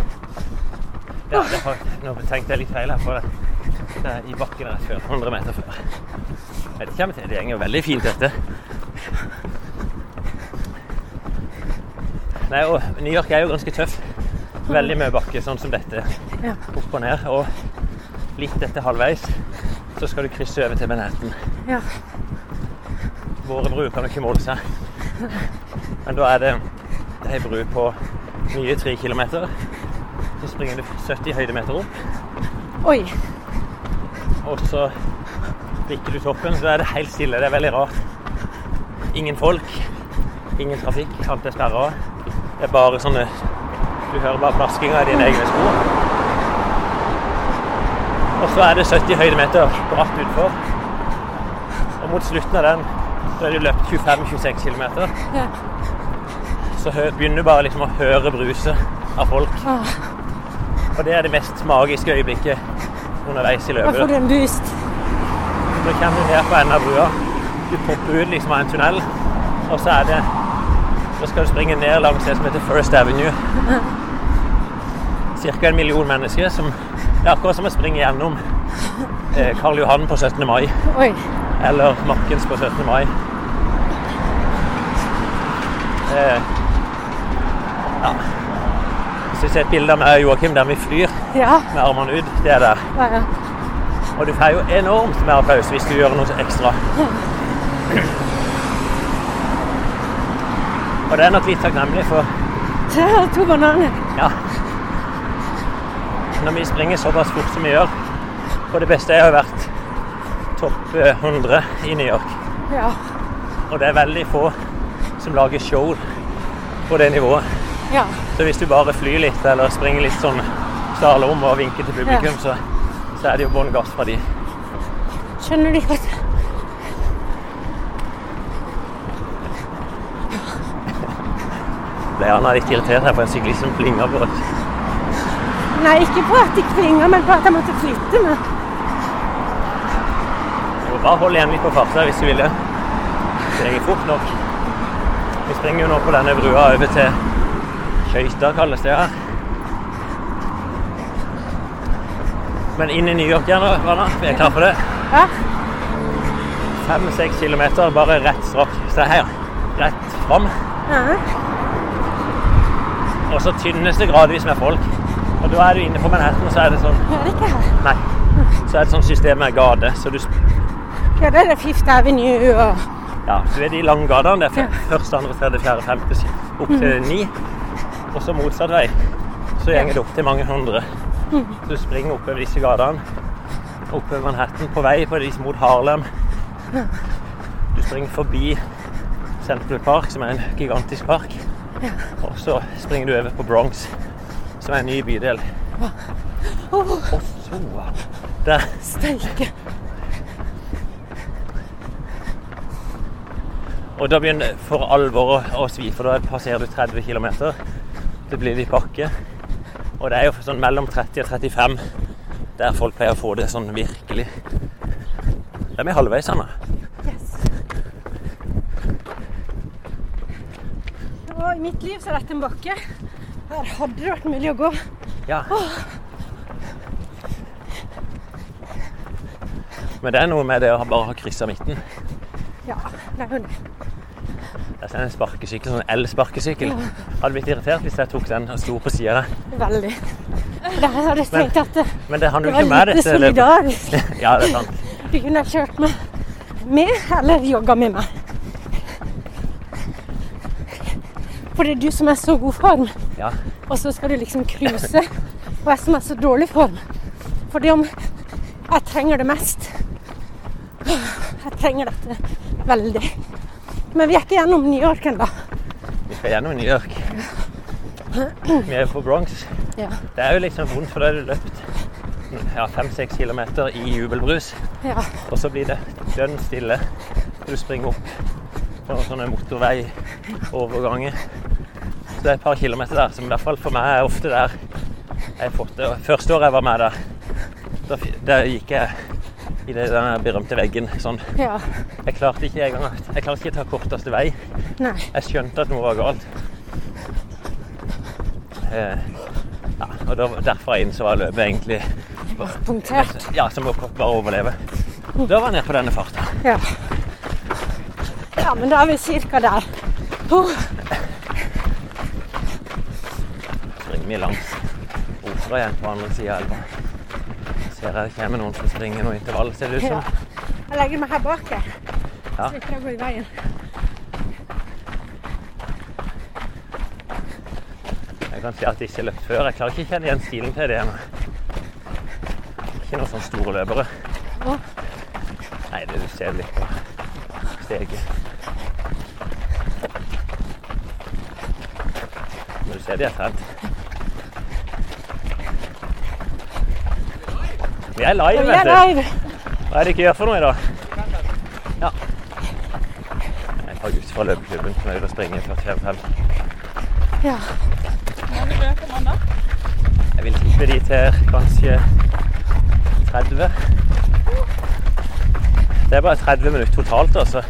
Speaker 2: Ja, det har, nå tenkte jeg litt feil her, for det, det er i bakken rett før. 100 meter før. Nei, det kommer til. Det går jo veldig fint, dette. Nei, og New York er jo ganske tøff. Veldig mye bakke, sånn som dette.
Speaker 1: Ja.
Speaker 2: Opp og ned. Og litt etter halvveis så skal du krysse over til Manhattan.
Speaker 1: Ja.
Speaker 2: Våre bruer kan jo ikke måle seg. Men da er det det er ei bru på nye tre kilometer. Så springer du 70 høydemeter opp,
Speaker 1: Oi.
Speaker 2: og så bikker du toppen. Så er det helt stille. Det er veldig rart. Ingen folk, ingen trafikk. Alt er sperra av. Det er bare sånne Du hører bare plaskinga i dine egne sko. Og så er det 70 høydemeter bratt utfor. Og mot slutten av den så er det jo løpt 25-26 km.
Speaker 1: Ja.
Speaker 2: så hø- begynner du bare liksom å høre bruset av folk.
Speaker 1: Ah,
Speaker 2: Og det er det mest magiske øyeblikket underveis i
Speaker 1: da får
Speaker 2: løpet.
Speaker 1: du en boost.
Speaker 2: Så kommer du ned på enden av brua, du popper ut liksom av en tunnel, og så er det Da skal du springe ned langs det som heter First Avenue. Cirka en million mennesker som Det er akkurat som å springe gjennom eh, Karl Johan på 17. mai.
Speaker 1: Oi.
Speaker 2: Eller Markens på 17. mai. Eh, ja. Hvis du ser et bilde av meg og Joakim der vi flyr
Speaker 1: Ja.
Speaker 2: med armene ut, det er der.
Speaker 1: ja, ja.
Speaker 2: Og du får jo enormt mer applaus hvis du gjør noe ekstra. Og det er nok litt takknemlig for
Speaker 1: Ta To bananer.
Speaker 2: ja. Når vi springer såpass fort som vi gjør Og det beste er jo vært topp eh, 100 i New York.
Speaker 1: Ja.
Speaker 2: Og det er veldig få som lager show på det nivået.
Speaker 1: Ja.
Speaker 2: Så hvis du bare flyr litt eller springer litt sånn slalåm og vinker til publikum, så, så er det jo bånn gass fra de.
Speaker 1: Skjønner du ikke at
Speaker 2: Ble han litt irritert her på en syklist som plinga på oss.
Speaker 1: Nei, ikke på at de klinger, men på at jeg måtte flytte meg.
Speaker 2: Du må bare holde igjen litt på farta hvis du vil det. Springer fort nok. Vi springer jo nå på denne brua over til Skøyta, kalles det her. Men inn i New York igjen, da, Vanna. Vi er klare for det.
Speaker 1: Ja.
Speaker 2: Fem-seks kilometer, bare rett strak. Se her. Rett fram.
Speaker 1: Ja.
Speaker 2: Og så tynnes det gradvis med folk. Og da er du inne på Manhattan, og så er det sånn
Speaker 1: Jeg er ikke her.
Speaker 2: Nei. Så er det sånn system med gate. Så du sp-
Speaker 1: Ja, der er Fifth Avenue og
Speaker 2: Ja, du er de lange gatene. Det er fyr- første, andre, tredje, fjerde, femte, sy- opp til ni. Og så motsatt vei. Så gjenger det opp til mange hundre. Så du springer oppover disse gatene. Oppover Manhattan, på vei på de som mot Harlem. Du springer forbi Central Park, som er en gigantisk park. Og så springer du over på Bronx, som er en ny bydel.
Speaker 1: Åh,
Speaker 2: Og så Der.
Speaker 1: steike.
Speaker 2: Og da begynner det for alvor å, å svi, for da passerer du 30 km. Det blir litt bakke. Og det er jo sånn mellom 30 og 35 der folk pleier å få det sånn virkelig. Da er vi halvveis, Anna.
Speaker 1: Yes. Og I mitt liv så er dette en bakke. Her hadde det vært mulig å gå.
Speaker 2: Ja. Men det er noe med det å ha- bare ha kryssa midten.
Speaker 1: Ja, det er jo det.
Speaker 2: Jeg ser en sparkesykkel, sånn elsparkesykkel. Hadde blitt irritert hvis jeg tok den og sto på sida der.
Speaker 1: Veldig. Der hadde jeg tenkt at det,
Speaker 2: Men det handler
Speaker 1: det
Speaker 2: jo ikke om
Speaker 1: var
Speaker 2: meg,
Speaker 1: lite
Speaker 2: dette løpet.
Speaker 1: solidarisk.
Speaker 2: Ja, det er sant.
Speaker 1: Du kunne ha kjørt meg med, eller jogga med meg. For det er du som er så god form,
Speaker 2: Ja.
Speaker 1: og så skal du liksom cruise. Og jeg som er så dårlig form. For det om jeg trenger det mest Jeg trenger dette veldig. Men vi er ikke gjennom New York ennå.
Speaker 2: Vi skal gjennom New York. Vi er på Bronx.
Speaker 1: Ja.
Speaker 2: Det er jo liksom vondt, for da har du løpt ja, fem-seks kilometer i jubelbrus,
Speaker 1: Ja.
Speaker 2: og så blir det dønn stille. Du springer opp på sånne motorveioverganger. Så det er et par kilometer der, som i hvert fall for meg er ofte der jeg fått det. Og Første året jeg var med der, da, fi- da gikk jeg i det- den berømte veggen sånn.
Speaker 1: ja.
Speaker 2: Jeg klarte ikke engang Jeg klarte ikke å ta korteste vei.
Speaker 1: Nei.
Speaker 2: Jeg skjønte at noe var galt. Eh, ja, og da, derfra inn så var løpet egentlig
Speaker 1: Punktert.
Speaker 2: Ja, som å bare overleve. Da var jeg nede på denne farta.
Speaker 1: Ja. ja, men da er vi ca. der. Huh.
Speaker 2: Springer vi langs opera igjen på andre sida av elva. Ser jeg det kommer noen som springer noe intervall, ser det ut
Speaker 1: Ja.
Speaker 2: som.
Speaker 1: Jeg legger meg her bak, jeg.
Speaker 2: Ja.
Speaker 1: Så ikke det går i veien.
Speaker 2: Jeg kan si at jeg ikke har løpt før. Jeg klarer ikke å kjenne igjen stilen til det. Men. Ikke noen sånne store løpere.
Speaker 1: Å.
Speaker 2: Nei, det du ser litt på steget. Men du ser de er trent. Vi er live,
Speaker 1: Og vi
Speaker 2: vet
Speaker 1: er
Speaker 2: du.
Speaker 1: live.
Speaker 2: Hva er det dere gjør for noe i dag? Ja. Det er Et par gutter fra løpeklubben som er ute og springer 45.
Speaker 1: Ja.
Speaker 2: Jeg vil tippe de til kanskje 30. Det er bare 30 minutter totalt, altså.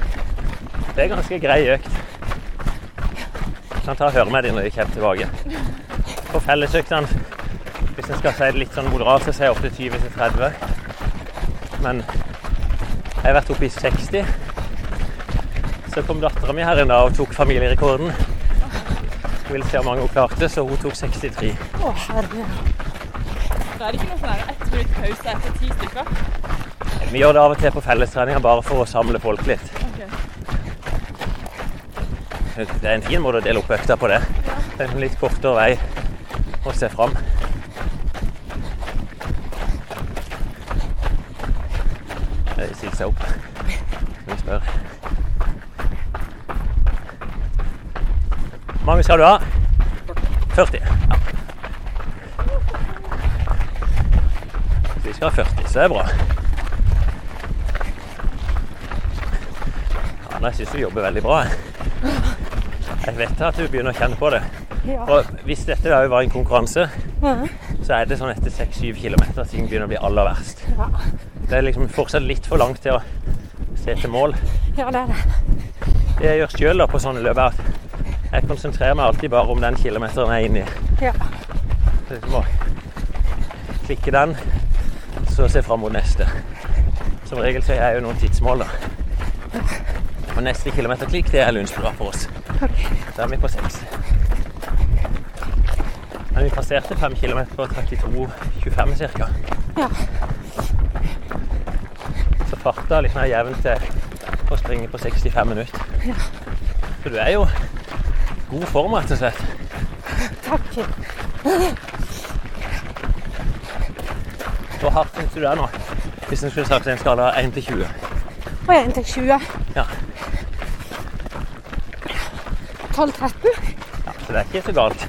Speaker 2: Det er ganske grei økt. Jeg kan ta og høre med de når de kommer tilbake. På fellesøktene, hvis en skal si det litt sånn moderat, så sier jeg ofte 20 til 30. Men jeg har vært oppe i 60. Så kom dattera mi her en dag og tok familierekorden. Hun ville se hvor mange hun klarte, så hun tok 63.
Speaker 1: Å, herre.
Speaker 3: Da er det ikke noe sånn her ett minutt pause etter ti stykker.
Speaker 2: Vi gjør det av og til på fellestreninger bare for å samle folk litt.
Speaker 3: Ok.
Speaker 2: Det er en fin måte å dele opp økta på det. Det er en litt kortere vei å se fram. De sier seg opp. Vi spør. Hvor mange skal du ha? 40. Ja. Så Vi skal ha 40, så det er bra. Ja, nei, jeg syns du jobber veldig bra. Jeg vet at du begynner å kjenne på det.
Speaker 1: Ja.
Speaker 2: Og hvis dette òg var en konkurranse,
Speaker 1: Ja.
Speaker 2: så er det sånn etter 6-7 km at ting begynner å bli aller verst.
Speaker 1: Ja.
Speaker 2: Det er liksom fortsatt litt for langt til å se til mål.
Speaker 1: ja, det er det.
Speaker 2: Det jeg gjør sjøl på sånne løp, er at jeg konsentrerer meg alltid bare om den kilometeren jeg er inne i.
Speaker 1: Ja.
Speaker 2: Så jeg må klikke den, så se fram mot neste. Som regel så har jeg jo noen tidsmål, da. Og neste kilometerklikk, det er Lundsbrua for oss. Da er vi på seks. Men vi passerte fem kilometer på 32,25 cirka.
Speaker 1: Ja.
Speaker 2: Så farta liksom er jevn til å springe på 65 minutter. Så du er jo i god form, rett og slett.
Speaker 1: Takk.
Speaker 2: Hvor hardt syns du det er nå? Hvis en skulle sagt en skala 1 til 20.
Speaker 1: Og jeg er 1 til 20.
Speaker 2: Ja.
Speaker 1: 12-13.
Speaker 2: Ja, så det er ikke så galt.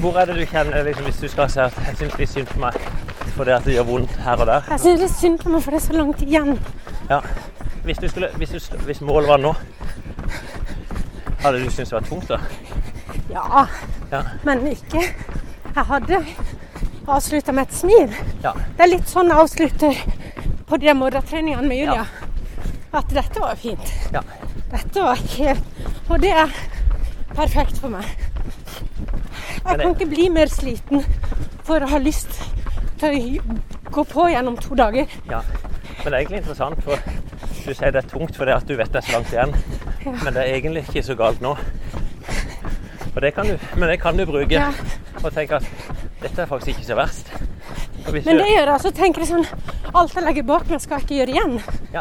Speaker 2: Hvor er det du kjenner liksom, Hvis du skal si at jeg syns litt synd på meg fordi at det gjør vondt her og der?
Speaker 1: Jeg syns det er synd på meg, for det er så langt igjen.
Speaker 2: Ja. Hvis, du skulle, hvis, du, hvis målet var nå, hadde du syntes det var tungt, da?
Speaker 1: Ja.
Speaker 2: Ja.
Speaker 1: Men ikke Jeg hadde avslutta med et smil.
Speaker 2: Ja.
Speaker 1: Det er litt sånn jeg avslutter på de morgentreningene med Julia. At dette var fint.
Speaker 2: Ja.
Speaker 1: Dette var helt Og det er perfekt for meg. Jeg
Speaker 2: Men det-
Speaker 1: kan ikke bli mer sliten for å ha lyst til å gå på igjen om to dager.
Speaker 2: ja. Men det er egentlig interessant, for du sier det er tungt fordi at du vet det er så langt igjen. Men det er egentlig ikke så galt nå. Og det kan du, men det kan du bruke.
Speaker 1: Ja.
Speaker 2: Og tenke at dette er faktisk ikke så verst. Og hvis
Speaker 1: Men
Speaker 2: du-
Speaker 1: det gjør jeg, så tenker jeg sånn Alt jeg legger bak meg, skal jeg ikke gjøre igjen.
Speaker 2: Ja,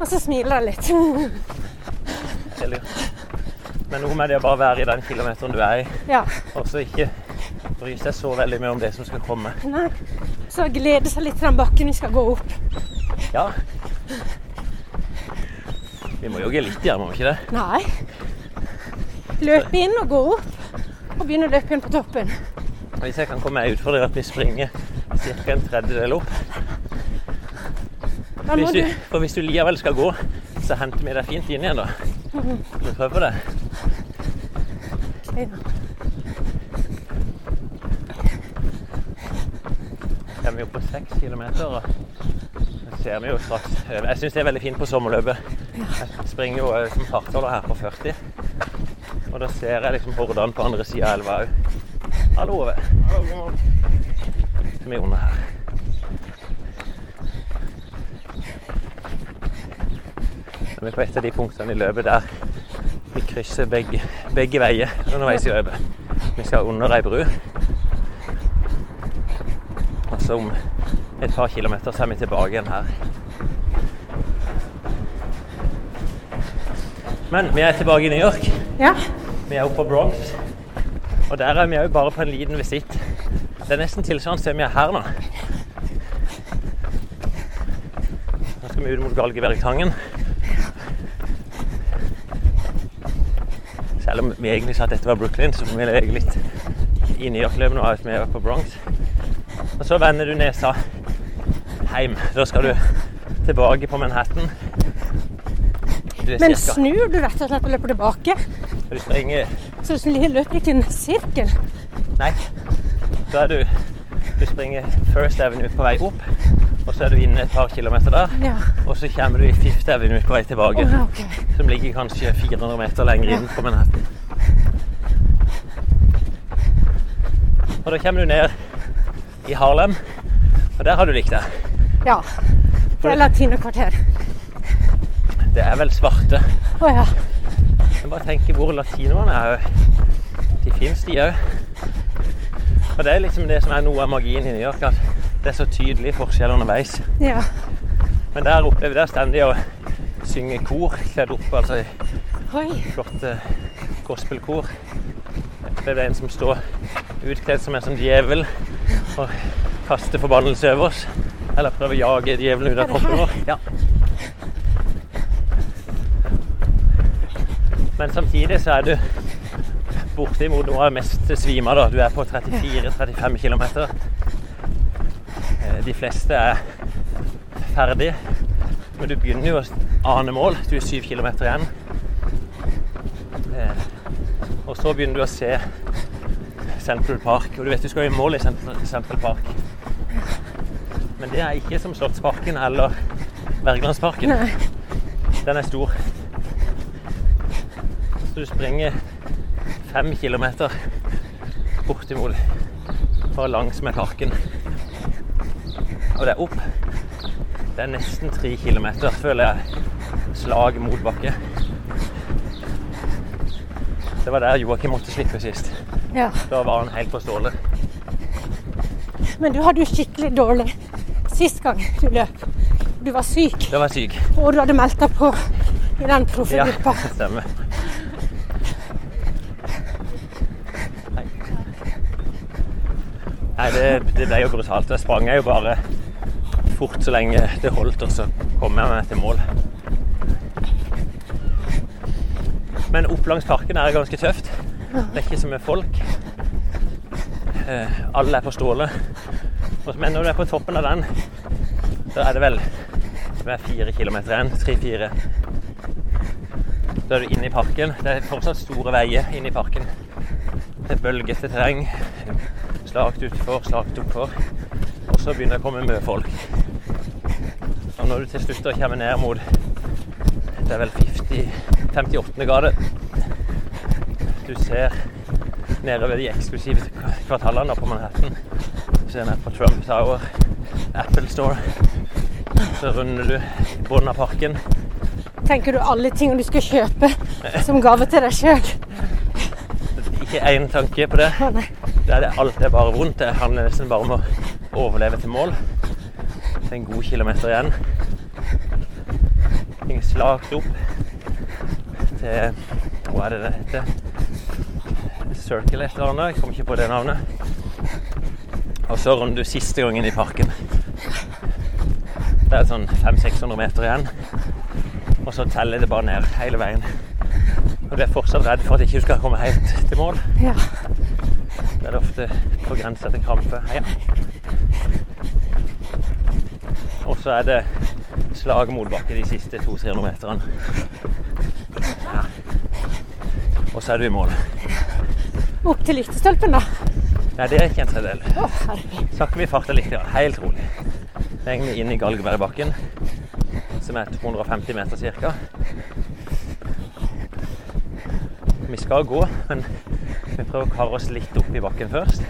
Speaker 1: Og så smiler jeg litt.
Speaker 2: det er lurt. Men noe med det å bare være i den kilometeren du er i,
Speaker 1: Ja.
Speaker 2: og så ikke bry seg så veldig mye om det som skal komme.
Speaker 1: Nei. Så glede seg litt til den bakken vi skal gå opp.
Speaker 2: Ja. Vi må jogge litt igjen, må vi ikke det?
Speaker 1: Nei. Løpe inn og gå opp. Og begynne å løpe igjen på toppen.
Speaker 2: Hvis jeg kan komme meg ut for det, at vi springer ca. en tredjedel opp.
Speaker 1: Da må
Speaker 2: Hvis
Speaker 1: du
Speaker 2: du, for hvis du likevel skal gå, så henter vi deg fint inn igjen, da. Vi prøver det.
Speaker 1: Ja.
Speaker 2: Da er vi oppe på seks kilometer, og så ser vi jo straks over. Jeg syns det er veldig fint på sommerløpet. Jeg springer jo eh, som fartholder her på 40, og da ser jeg liksom Hordaland på andre sida av elva òg. Hallo, Ove. Som er under her. Når vi er på et av de punktene i løpet der vi krysser begge, begge veier underveis i løpet. Vi skal under ei bru. Og så Altså, om et par kilometer så er vi tilbake igjen her. Men vi er tilbake i New York.
Speaker 1: Ja.
Speaker 2: Vi er oppe på Bronx. Og der er vi òg bare på en liten visitt. Det er nesten tilsvarende som vi er her nå. Nå skal vi ut mot Galgebergtangen. Selv om vi egentlig sa at dette var Brooklyn, så vi leve litt i New York-løpet nå, at vi er på Bronx. Og så vender du nesa hjem. Da skal du tilbake på Manhattan. Du er
Speaker 1: Men
Speaker 2: cirka-
Speaker 1: snur du rett og slett og løper tilbake?
Speaker 2: Du springer
Speaker 1: Så du løper ikke i en sirkel?
Speaker 2: Nei. Da er du Du springer First Avenue på vei opp, og så er du inne et par kilometer der.
Speaker 1: Ja.
Speaker 2: Og så kommer du i Fifth Avenue på vei tilbake,
Speaker 1: Å, ja, ok.
Speaker 2: som ligger kanskje 400 meter lenger inn på Manhattan. Og da kommer du ned i Harlem, og der har du likt det.
Speaker 1: Ja. Det er latinokvarter.
Speaker 2: Det er vel svarte.
Speaker 1: Å ja.
Speaker 2: Jeg bare tenker hvor latinoene er. jo. De fins, de òg. Og det er liksom det som er noe av magien i New York, at det er så tydelig forskjell underveis.
Speaker 1: ja.
Speaker 2: Men der oppe der står de og synger kor, kledd opp altså i
Speaker 1: Oi.
Speaker 2: flotte eh, gospelkor. Det er en som står utkledd som en sånn djevel og kaster forbannelse over oss. Eller prøver å jage djevelen
Speaker 1: Er
Speaker 2: ut av
Speaker 1: det
Speaker 2: kroppen
Speaker 1: her?
Speaker 2: vår. Ja. Men samtidig så er du bortimot noe av det mest svima. da. Du er på 34-35 km. Eh, De fleste er ferdig, men du begynner jo å ane mål. Du er 7 km igjen. Eh, Og så begynner du å se Central Park. Og du vet du skal i mål i Central Central Park. Men det er ikke som Slottsparken eller Wergelandsparken.
Speaker 1: Nei.
Speaker 2: Den er stor. Så du springer fem kilometer bortimot bare langs med parken. Og det er opp. Det er nesten tre kilometer, føler jeg. Slag mot bakke. Det var der Joakim måtte slippe sist.
Speaker 1: Ja.
Speaker 2: Da var han helt på stålet.
Speaker 1: Men du hadde jo skikkelig dårlig sist gang du løp. Du var syk,
Speaker 2: Da var jeg syk.
Speaker 1: og du hadde meldt deg på i den
Speaker 2: Ja,
Speaker 1: proffegruppa.
Speaker 2: det stemmer. Nei. Nei, det, det ble jo brutalt. Jeg sprang jo bare fort så lenge det holdt, og så kom jeg meg til mål. Men opp langs parken er det ganske tøft. Det er ikke så mye folk. Eh, alle er på stålet. Og- Men når du er på toppen av den, da er det vel det er fire kilometer igjen. Tre-fire. Da er du inne i parken. Det er fortsatt store veier inne i parken. Det er bølgete terreng. Slakt utfor, slakt oppfor. Og så begynner det å komme mye folk. Og når du til slutt da kommer ned mot Det er vel 50, 58. gate. Du ser nedover de eksklusive kvartalene da på Manhattan. Du ser ned på Trump Tower, Apple Store. Så runder du i bunnen av parken
Speaker 1: tenker du alle tingene du skal kjøpe som gave til deg sjøl.
Speaker 2: Ikke én tanke på det. Det er, det, alt er bare vondt. Det handler nesten bare om å overleve til mål. Det er en god kilometer igjen. Ting er slakt opp til Hva er det det heter? Circle et eller annet. Jeg kom ikke på det navnet. Og så runder du siste gangen i parken. Det er sånn 500-600 meter igjen. Og så teller det bare ned hele veien. Og du er fortsatt redd for at ikke du skal komme helt til mål.
Speaker 1: Ja.
Speaker 2: Det er det ofte på grensa til krampe. Heia. Og så er det slag motbakke de siste 200-300 meterne. Ja. Og så er du i mål.
Speaker 1: Opp til lyktestolpen, da.
Speaker 2: Nei, det er ikke en tredjedel.
Speaker 1: Å, herregud.
Speaker 2: Snakker vi farta litt, grann, helt rolig. Det er egentlig inn i Galgebergbakken, som er 250 meter cirka. Vi skal gå, men vi prøver å kare oss litt opp i bakken først.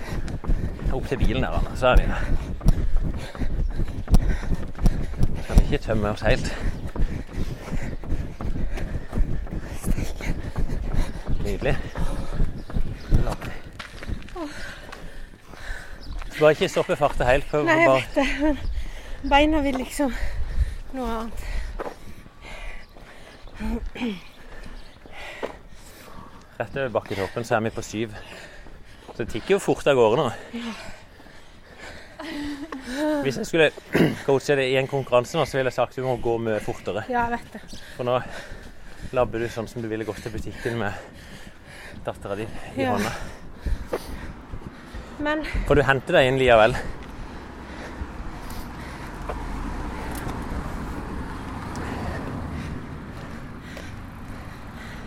Speaker 2: Opp til bilen der, Anna, så er vi der. Skal vi ikke tømme oss helt? Nydelig. Du Skal ikke stoppe farta helt. Prøv
Speaker 1: Nei,
Speaker 2: å
Speaker 1: jeg
Speaker 2: bare
Speaker 1: vet det. Men beina vil liksom noe annet.
Speaker 2: Rett over bakketoppen så er vi på syv. Så det tikker jo fort av gårde nå. Hvis jeg skulle coache det i en konkurranse nå, så ville jeg sagt du må gå mye fortere.
Speaker 1: Ja, jeg vet det.
Speaker 2: For nå labber du sånn som du ville gått til butikken med dattera di i
Speaker 1: Ja.
Speaker 2: hånda.
Speaker 1: Men
Speaker 2: For du henter deg inn likevel.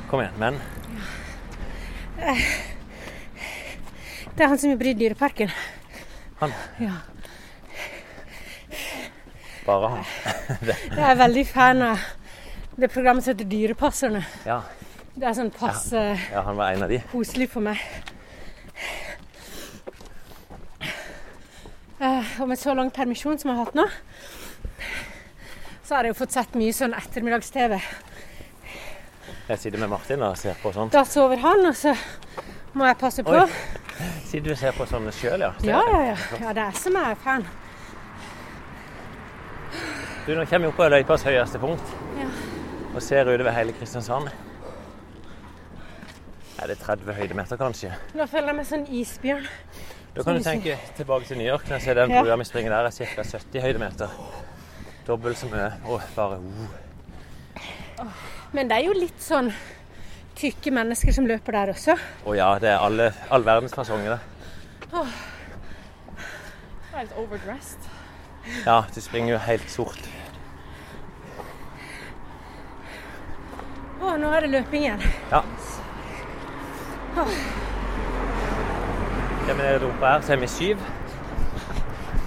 Speaker 2: Kom igjen, men.
Speaker 1: det er han som jobber i Dyreparken.
Speaker 2: Han.
Speaker 1: Ja.
Speaker 2: Bare han.
Speaker 1: Jeg er veldig fan av det programmet som heter Dyrepasserne.
Speaker 2: Ja,
Speaker 1: Det er sånn passe
Speaker 2: ja han var en av de.
Speaker 1: koselig for meg. Eh, og med så lang permisjon som jeg har hatt nå, så har jeg jo fått sett mye sånn ettermiddags-TV.
Speaker 2: Jeg sitter med Martin og ser på sånn.
Speaker 1: Da sover han, og så må jeg passe på.
Speaker 2: Oi. Sitter du og ser på sånne sjøl, ja?
Speaker 1: Ja, ja, ja. ja, det er som jeg er fan.
Speaker 2: Du, nå kommer vi opp på løypas høyeste punkt
Speaker 1: Ja.
Speaker 2: og ser utover hele Kristiansand. Er det 30 høydemeter, kanskje?
Speaker 1: Nå føler jeg meg sånn isbjørn.
Speaker 2: Da kan du
Speaker 1: Som du
Speaker 2: tenke tilbake til New York. Når jeg ser den
Speaker 1: Ja.
Speaker 2: brua vi springer der, er ca. 70 høydemeter. Dobbelt så mye. Og bare uh.
Speaker 1: Men det er jo litt sånn tykke mennesker som løper der også.
Speaker 2: Å ja, det er alle, all verdens fasonger. da.
Speaker 3: Jeg er litt overdressed.
Speaker 2: Ja, du springer jo helt sort.
Speaker 1: Å, nå er det løping igjen.
Speaker 2: Ja.
Speaker 1: Ah.
Speaker 2: Ja, men er det oppe her, så er vi syv.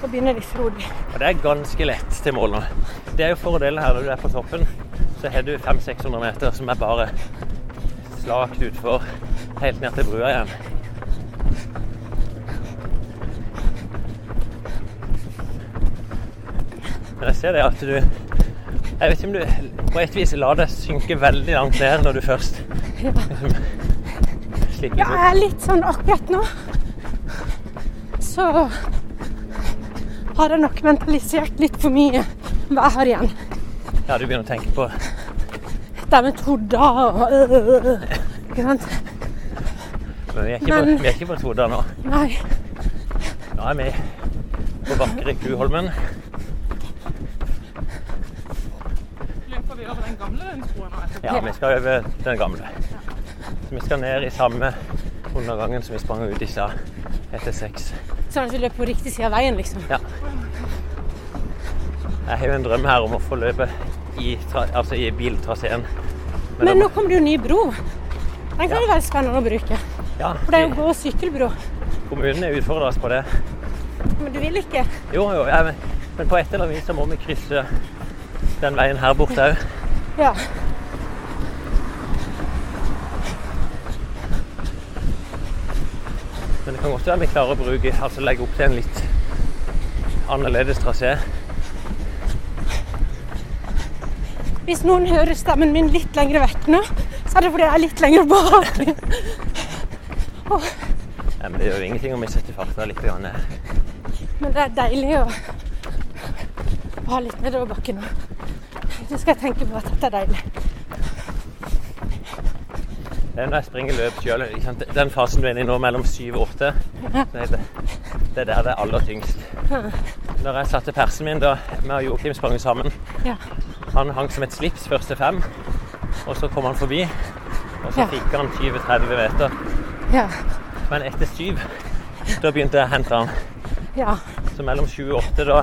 Speaker 1: Nå begynner de frodig.
Speaker 2: Og det er ganske lett til mål nå. Det er jo fordelen her når du er på toppen. Så har du 500-600 meter som er bare slakt utfor, helt ned til brua igjen. Men jeg ser det at du Jeg vet ikke om du på et vis lar deg synke veldig langt ned når du først slipper
Speaker 1: Ja,
Speaker 2: ut.
Speaker 1: jeg er litt sånn akkurat nå. Så har jeg nok mentalisert litt for mye hva jeg har igjen.
Speaker 2: Ja, du begynner å tenke på
Speaker 1: Det med torder og øh, Ikke sant?
Speaker 2: Men vi er ikke på,
Speaker 1: Men-
Speaker 2: vi er ikke på Toda nå.
Speaker 1: Nei.
Speaker 2: Nå er vi på vakre Kuholmen.
Speaker 3: Løper vi over den gamle rundskoen nå etterpå?
Speaker 2: Ja, vi skal over den gamle. Så vi skal ned i samme undergangen som vi sprang ut i stad, etter seks.
Speaker 1: Sånn at vi løper på riktig side av veien, liksom.
Speaker 2: Ja. Jeg har jo en drøm her om å få løpe i, tra altså i biltraseen.
Speaker 1: Men
Speaker 2: da-
Speaker 1: nå kommer det jo en ny bro. Den kan
Speaker 2: Ja.
Speaker 1: jo være spennende å bruke.
Speaker 2: ja,
Speaker 1: For det er jo gå- og sykkelbro.
Speaker 2: Kommunen er utfordra oss på det.
Speaker 1: Men du vil ikke?
Speaker 2: Jo, jo, ja, men, men på et eller annet vis så må vi krysse den veien her borte òg.
Speaker 1: Ja.
Speaker 2: Men det kan godt være vi klarer å bruke, altså legge opp til en litt annerledes trasé.
Speaker 1: Hvis noen hører stemmen min litt lenger vekk nå, så er det fordi jeg er litt lenger bak.
Speaker 2: Nei, men det gjør jo ingenting om vi setter farten litt grann ned.
Speaker 1: Men det er deilig å ha litt nedoverbakke nå. Det skal jeg tenke på at dette er deilig.
Speaker 2: Det er når jeg springer løp sjøl. Den fasen du er inne i nå, mellom syv og åtte, det, er det, det er der det er aller tyngst. Når jeg satte persen min da Vi og Joakim sprang jo sammen.
Speaker 1: Ja.
Speaker 2: Han hang som et slips første fem, og så kom han forbi. Og så
Speaker 1: Ja.
Speaker 2: fikk han 20-30 meter.
Speaker 1: Ja.
Speaker 2: Men etter syv, da begynte jeg å hente han.
Speaker 1: ja.
Speaker 2: Så mellom sju og åtte, da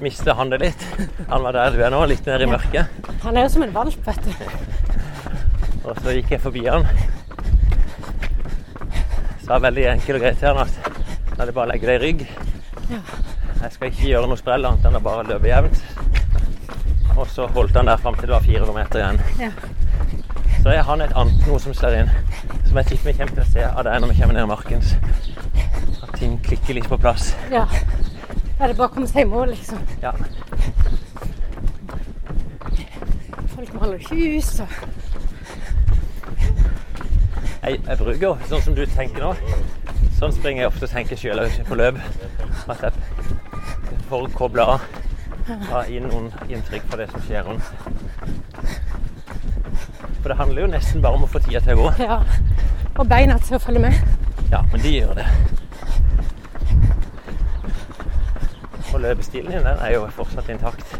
Speaker 2: mistet han det litt. Han var der du er nå, litt nede i mørket.
Speaker 1: Han er jo som en valp, vet du.
Speaker 2: Og så gikk jeg forbi han. Sa veldig enkelt og greit til han at nå er det bare å legge deg i rygg.
Speaker 1: Ja.
Speaker 2: Jeg skal ikke gjøre noe sprell annet enn å bare løpe jevnt. Og så holdt han der fram til det var 400 meter igjen.
Speaker 1: Ja.
Speaker 2: Så er han et annet noe som slår inn, som jeg tipper vi kommer til å se av det når vi kommer ned i marken. At ting klikker litt på plass.
Speaker 1: Ja. Da er det bare å komme seg i mål, liksom.
Speaker 2: Ja.
Speaker 1: Folk maler hus og
Speaker 2: Jeg, jeg bruker jo, sånn som du tenker nå, sånn springer jeg ofte og tenker sjøl på løp. Sånn At jeg får koble av. Ta inn noen inntrykk fra det som skjer rundt. For det handler jo nesten bare om å få tida til å gå.
Speaker 1: Ja. Og beina til å følge med.
Speaker 2: Ja, men de gjør det. Og løpestilen din den er jo fortsatt intakt.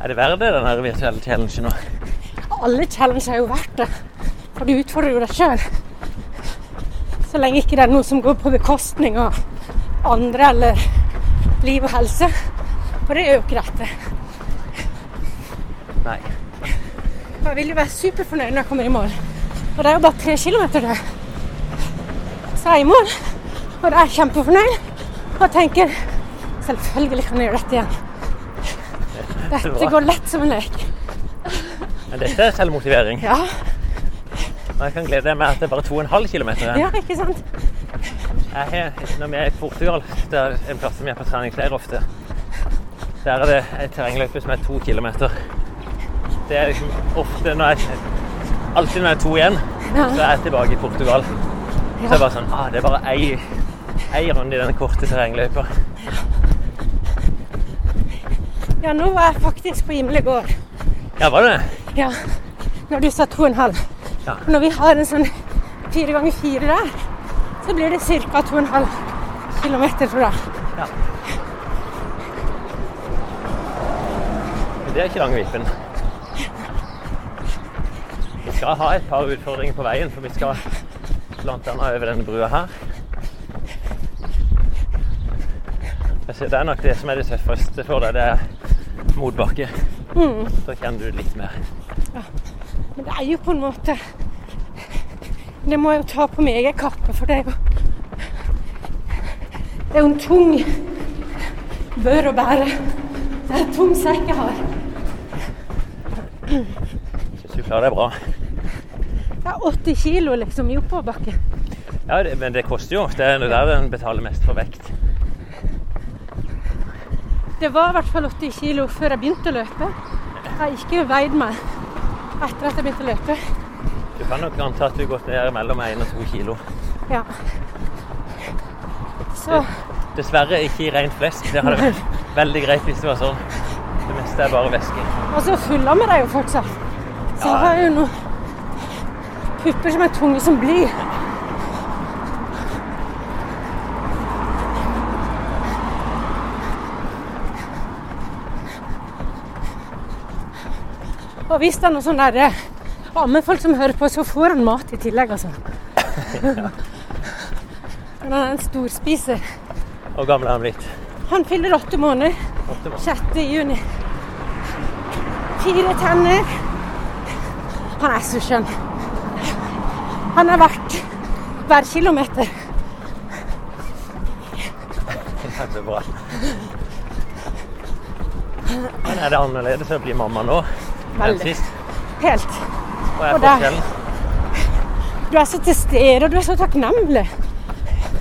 Speaker 2: Er det verdt det, den her virtuelle challengen nå?
Speaker 1: Alle challenger er jo verdt det. For du utfordrer jo deg sjøl. Så lenge ikke det er noe som går på bekostning av andre eller liv og helse. For det er jo ikke dette.
Speaker 2: Nei.
Speaker 1: Og Jeg vil jo være superfornøyd når jeg kommer i mål. Og det er jo bare tre kilometer, det. Så er jeg i mål, og da er jeg kjempefornøyd. Og tenker selvfølgelig kan jeg gjøre dette igjen. Dette går lett som en lek.
Speaker 2: Men dette er selvmotivering.
Speaker 1: Ja,
Speaker 2: Og jeg kan glede deg med at det er bare 2,5 km igjen.
Speaker 1: ja ikke sant?
Speaker 2: Jeg har, når vi er i Portugal, det er en plass som vi er på treningsleir ofte, der er det en terrengløype som er to kilometer. Det er liksom ofte når jeg Alltid når jeg er to igjen, så er jeg tilbake i Portugal. Så er det bare sånn ah, Det er bare ei, ei runde i denne korte terrengløypa.
Speaker 1: Ja, nå var jeg faktisk på Gimle gård.
Speaker 2: Ja, var det det?
Speaker 1: Ja, når du sa to og en halv.
Speaker 2: Ja.
Speaker 1: Når vi har en sånn fire ganger fire der, så blir det ca. to og en halv kilometer, tror jeg.
Speaker 2: Ja. Men det er ikke Langevipen. Vi skal ha et par utfordringer på veien, for vi skal blant annet over denne brua her. Jeg ser det er nok det som er det tøffeste for deg, det er motbakke. Da kjenner du det litt mer.
Speaker 1: Men det er jo på en måte Det må jeg jo ta på min egen kappe, for det er jo Det er jo en tung bør å bære. Det er en tung sekk jeg har.
Speaker 2: Syns du klarer deg bra.
Speaker 1: Det er 80 kilo liksom i oppoverbakke.
Speaker 2: Ja, det, men det koster jo. Det er der en betaler mest for vekt.
Speaker 1: Det var i hvert fall 80 kilo før jeg begynte å løpe. Jeg har ikke veid meg etter at jeg begynte å løpe.
Speaker 2: Du kan nok anta at du har gått ned mellom 1 og 2 kilo.
Speaker 1: Ja. Så
Speaker 2: Dessverre ikke i rent flesk. Det hadde vært veldig greit hvis det var sånn. Det meste er bare væske.
Speaker 1: Og så fyller vi det jo fortsatt. Så jeg har jo noen pupper som er tunge som bly. Og hvis det er noe sånn derre ammefolk som hører på, så får han mat i tillegg, altså. Men han er en storspiser.
Speaker 2: Og gammel er han blitt.
Speaker 1: Han fyller åtte måneder.
Speaker 2: Åtte måneder.
Speaker 1: 6. juni. Fire tenner. Han er så skjønn. Han er verdt hver kilometer.
Speaker 2: Ja, Det er bra. Men er det annerledes å bli mamma nå enn
Speaker 1: Veldig.
Speaker 2: sist?
Speaker 1: Helt.
Speaker 2: Hva er
Speaker 1: Og der.
Speaker 2: forskjellen?
Speaker 1: Du er så til stede, og du er så takknemlig.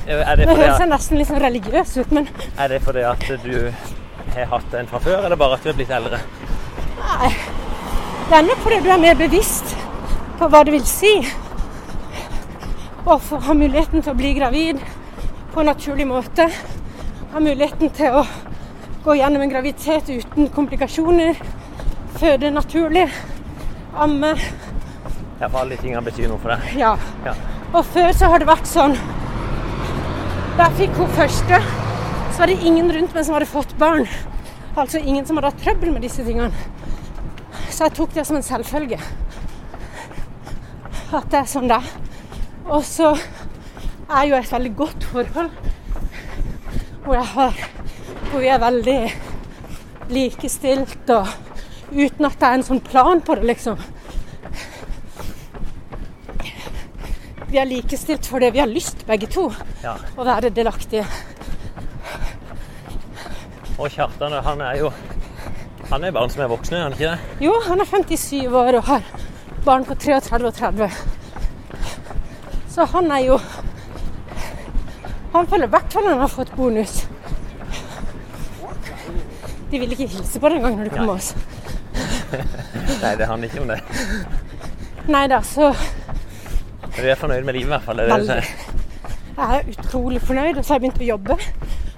Speaker 2: Er
Speaker 1: Det
Speaker 2: det fordi
Speaker 1: høres
Speaker 2: at,
Speaker 1: jeg nesten litt sånn religiøs ut, men
Speaker 2: er det fordi at du har hatt en fra før, eller bare at du er blitt eldre?
Speaker 1: nei. Det er nok fordi du er mer bevisst på hva det vil si å få ha muligheten til å bli gravid på en naturlig måte. Ha muligheten til å gå gjennom en graviditet uten komplikasjoner. Føde naturlig. Amme.
Speaker 2: Ja, for alle de tingene betyr noe for deg.
Speaker 1: Ja.
Speaker 2: Ja.
Speaker 1: Og før så har det vært sånn Da jeg fikk hun første, så var det ingen rundt meg som hadde fått barn. Altså ingen som hadde hatt trøbbel med disse tingene. Så jeg tok det som en selvfølge. At det er sånn det er. Og så er jo et veldig godt forhold hvor jeg har Hvor vi er veldig likestilt og uten at det er en sånn plan på det, liksom. Vi er likestilt fordi vi har lyst, begge to,
Speaker 2: Ja.
Speaker 1: å være delaktige.
Speaker 2: Og Kjartan, han er jo Han er barn som er voksne, er han ikke det?
Speaker 1: Jo, han er 57 år og har barn på 33 og 30. Så han er jo Han føler i hvert fall han har fått bonus. De ville ikke hilse på deg engang når du kom med oss.
Speaker 2: Nei, det handler ikke om det.
Speaker 1: Nei da, så
Speaker 2: Men du er fornøyd med livet, i hvert fall. Det er det du
Speaker 1: Veldig.
Speaker 2: sier.
Speaker 1: jeg er utrolig fornøyd, og så har jeg begynt å jobbe.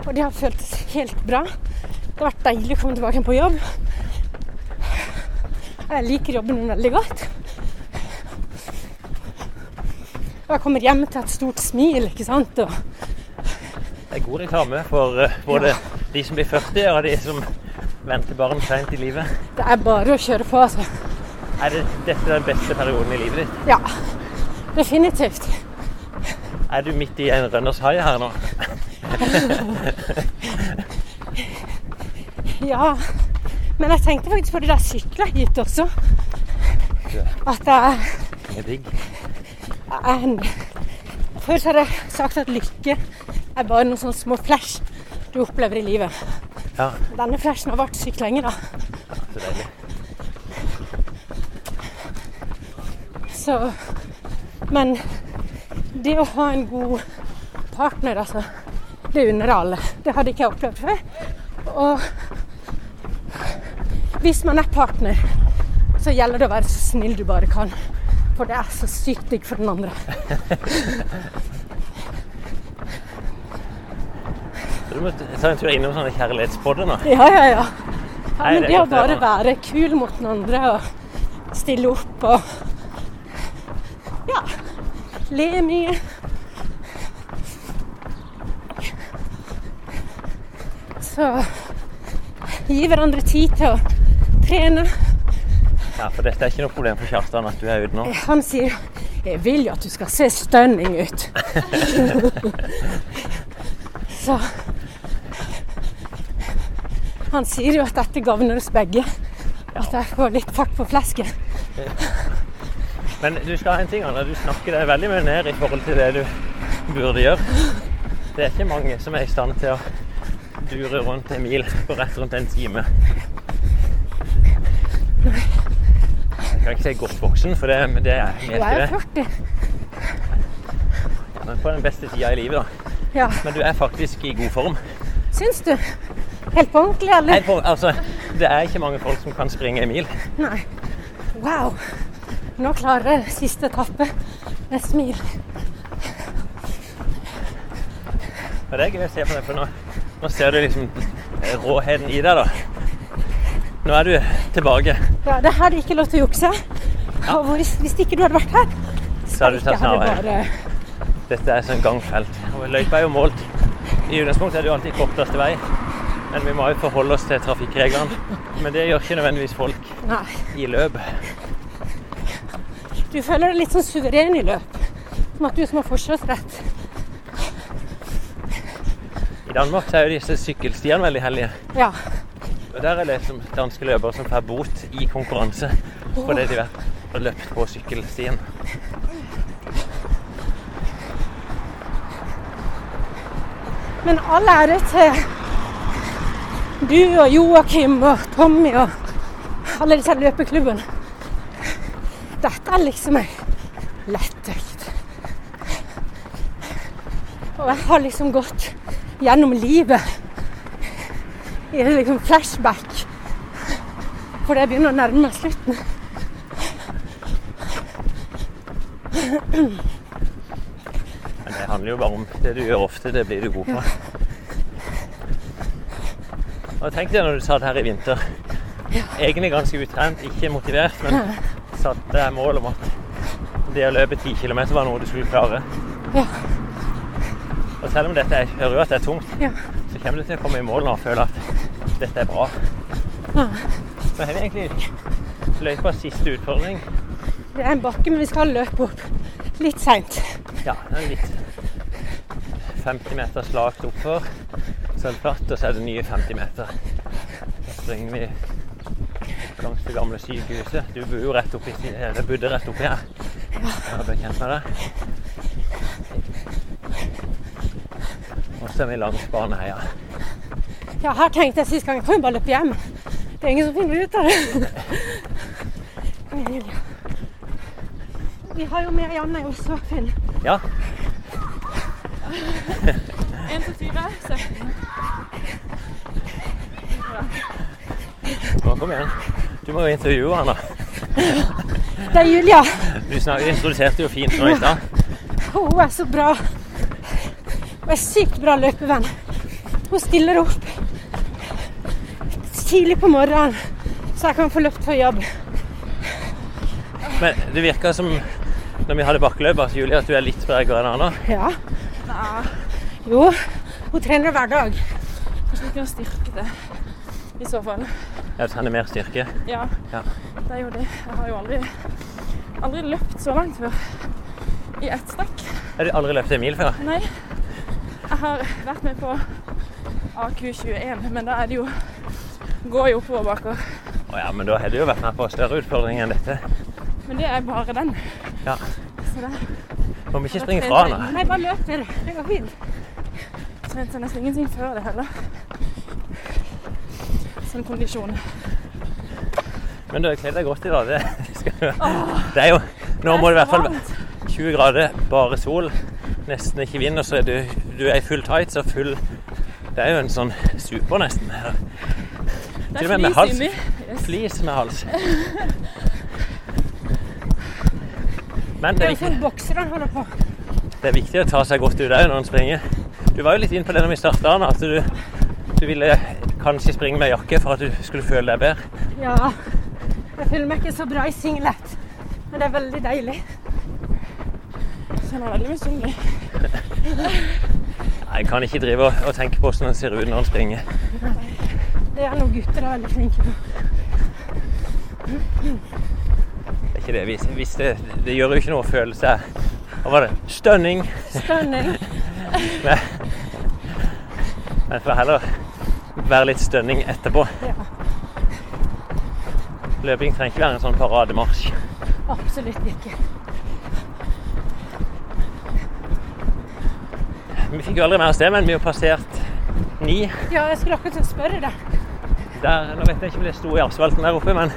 Speaker 1: Og det har føltes helt bra. Det har vært deilig å komme tilbake igjen på jobb. Jeg liker jobben min veldig godt. Og jeg kommer hjem til et stort smil, ikke sant. Og
Speaker 2: Det er god reklame for eh, både de som blir 40, og de som venter barn sent i livet.
Speaker 1: det er bare å kjøre på, altså.
Speaker 2: Er det, dette den beste perioden i livet ditt?
Speaker 1: Ja, definitivt.
Speaker 2: Er du midt i en runners high her nå?
Speaker 1: Ja. Men jeg tenkte faktisk på det der sykla hit også. At jeg
Speaker 2: Det er digg.
Speaker 1: er en Før så har jeg sagt at lykke er bare noen sånne små flash du opplever i livet.
Speaker 2: Ja,
Speaker 1: Denne flashen har vært sykt lenge, da.
Speaker 2: så deilig.
Speaker 1: Så Men det å ha en god partner, altså, det unner jeg alle. Det hadde ikke jeg opplevd før. Og hvis man er partner, så gjelder det å være så snill du bare kan. For det er så sykt digg for den andre.
Speaker 2: Så du må ta en tur innom sånne kjærlighetsbodder nå.
Speaker 1: Ja, ja, ja. ja
Speaker 2: Nei,
Speaker 1: men
Speaker 2: det er
Speaker 1: det å
Speaker 2: godt,
Speaker 1: bare
Speaker 2: det, da.
Speaker 1: være kul mot den andre og stille opp og Ja. Le mye. Så gi hverandre tid til å trene.
Speaker 2: Ja, for dette er ikke noe problem for Kjartan at du er ute nå.
Speaker 1: Han sier 'Jeg vil jo at du skal se stunning ut'. Så Han sier jo at dette gagner oss begge. At jeg får litt fart på flesket.
Speaker 2: Men du skal ha en ting, Anna. Du snakker deg veldig mye ned i forhold til det du burde gjøre. Det er ikke mange som er i stand til å dure rundt en mil på rett rundt en time. Jeg kan ikke si godt voksen, for det, men det er jeg
Speaker 1: Du er
Speaker 2: ikke
Speaker 1: jo
Speaker 2: det.
Speaker 1: 40.
Speaker 2: Men på den beste tida i livet, da.
Speaker 1: Ja.
Speaker 2: Men du er faktisk i god form.
Speaker 1: Syns du? Helt på ordentlig, eller?
Speaker 2: Helt på- altså, det er ikke mange folk som kan springe en mil.
Speaker 1: Nei. Wow. Nå klarer jeg siste etappe med et smil.
Speaker 2: Og det er gøy å se på deg, for nå, nå ser du liksom råheten i deg, da. Nå er du tilbake.
Speaker 1: Ja, det her er ikke lov til å jukse. Og hvor- hvis ikke du hadde vært her,
Speaker 2: Så har du tatt snarveien.
Speaker 1: bare
Speaker 2: Dette er sånn gangfelt. Og løypa er jo målt. I utgangspunktet er det jo alltid korteste vei, men vi må jo forholde oss til trafikkreglene. Men det gjør ikke nødvendigvis folk
Speaker 1: Nei.
Speaker 2: i løp.
Speaker 1: Du føler deg litt sånn suveren i løp. Som at du som har forkjørsrett.
Speaker 2: I Danmark så er jo disse sykkelstiene veldig hellige.
Speaker 1: Ja.
Speaker 2: Og der er det liksom danske løpere som får bot i konkurranse fordi de har vært og løpt på sykkelstien.
Speaker 1: Men all ære til du og Joakim og Tommy og alle disse løpeklubbene. Dette er liksom ei lettøkt. Og jeg har liksom gått gjennom livet i en liksom flashback. For det begynner å nærme meg slutten.
Speaker 2: Men det handler jo bare om det du gjør ofte, det blir du god på. Og tenk deg når du satt her i vinter. Egentlig ganske utrent, ikke motivert, men satte deg mål om at det å løpe 10 km var noe du skulle klare.
Speaker 1: Ja.
Speaker 2: Og selv om dette jeg hører jo at det er tungt,
Speaker 1: Ja.
Speaker 2: så kommer du til å komme i mål nå og føle at dette er bra. Så har vi egentlig løypas siste utfordring.
Speaker 1: Det er en bakke, men vi skal løpe opp litt seint.
Speaker 2: Ja, det er litt 50 meter slakt oppfor, så er det platt, og så er det nye 50 meter. Da springer vi langs det gamle sykehuset. Du bor jo rett oppi, eller bodde rett oppi her. Jeg ble kjent med deg. Og så er vi langs Baneheia.
Speaker 1: Ja, her tenkte jeg sist gang jeg kan jo bare løpe hjem. Det er ingen som finner ut av det. Kom igjen, Julia. Vi har jo med Janne i Oslo, Finn.
Speaker 2: Ja,
Speaker 3: 1, 2, 4, 17.
Speaker 2: nå kom igjen. Du må jo intervjue han da.
Speaker 1: Det er Julia.
Speaker 2: Du snak- introduserte jo fint nå i stad.
Speaker 1: Og Hun er så bra. Hun er sykt bra løpevenn. Hun stiller opp tidlig på morgenen, så jeg kan få løpt før jobb.
Speaker 2: Men det virka som når vi hadde bakkeløp, at Julie, at du er litt bregere enn Anna.
Speaker 1: Ja. Jo, hun trener hver dag.
Speaker 3: Kanskje vi kunne styrke det. I så fall.
Speaker 2: Jeg trenger mer styrke.
Speaker 3: Ja,
Speaker 2: Ja.
Speaker 3: det er jo det. Jeg har jo aldri, aldri løpt så langt før. I ett strekk.
Speaker 2: Har du aldri løpt en mil før?
Speaker 3: Nei. Jeg har vært med på AQ21, men da er det jo Går jo oppover bakover.
Speaker 2: Å ja, men da har du jo vært med på større utfordringer enn dette.
Speaker 3: Men det er bare den.
Speaker 2: Ja.
Speaker 3: Så det
Speaker 2: Må vi ikke springe fra henne?
Speaker 1: Nei, bare løp dere. Det går fint.
Speaker 3: trente jeg nesten ingenting før det heller. Sånn kondisjon.
Speaker 2: Men du har kledd deg godt i dag. Det, skal du. det er jo Nå må det i hvert fall være 20 grader, bare sol, nesten ikke vind, og så er du, du er i full tights og full Det er jo en sånn super, nesten.
Speaker 3: Det
Speaker 2: Til
Speaker 3: er
Speaker 2: og med med
Speaker 3: flis
Speaker 2: hals.
Speaker 3: inni. Yes.
Speaker 2: Flis med hals. Men det
Speaker 1: Det
Speaker 2: er
Speaker 1: er
Speaker 2: viktig.
Speaker 1: sånn bokser han holder på.
Speaker 2: Det er viktig å ta seg godt ut òg når en springer. Du var jo litt inn på det når vi starta, Anna, at du, du ville kanskje springe med jakke for at du skulle føle deg bedre.
Speaker 1: Ja. Jeg føler meg ikke så bra i singlet, men det er veldig deilig.
Speaker 3: Jeg er veldig misunnelig.
Speaker 2: Nei, En kan ikke drive og, og tenke på hvordan en ser ut når en springer.
Speaker 1: Det er noen gutter er veldig flinke på.
Speaker 2: Det er ikke det. Hvis, hvis det, det gjør jo ikke noe å føle seg Hva var det? Stønning.
Speaker 1: Stønning.
Speaker 2: Men får heller være litt stønning etterpå.
Speaker 1: Ja,
Speaker 2: Løping trenger ikke være en sånn parademarsj.
Speaker 1: absolutt ikke.
Speaker 2: Vi fikk jo aldri med oss det, men vi har passert ni.
Speaker 1: Ja, jeg skulle akkurat til å spørre deg.
Speaker 2: Der, nå vet jeg ikke om det sto i asfalten der oppe, men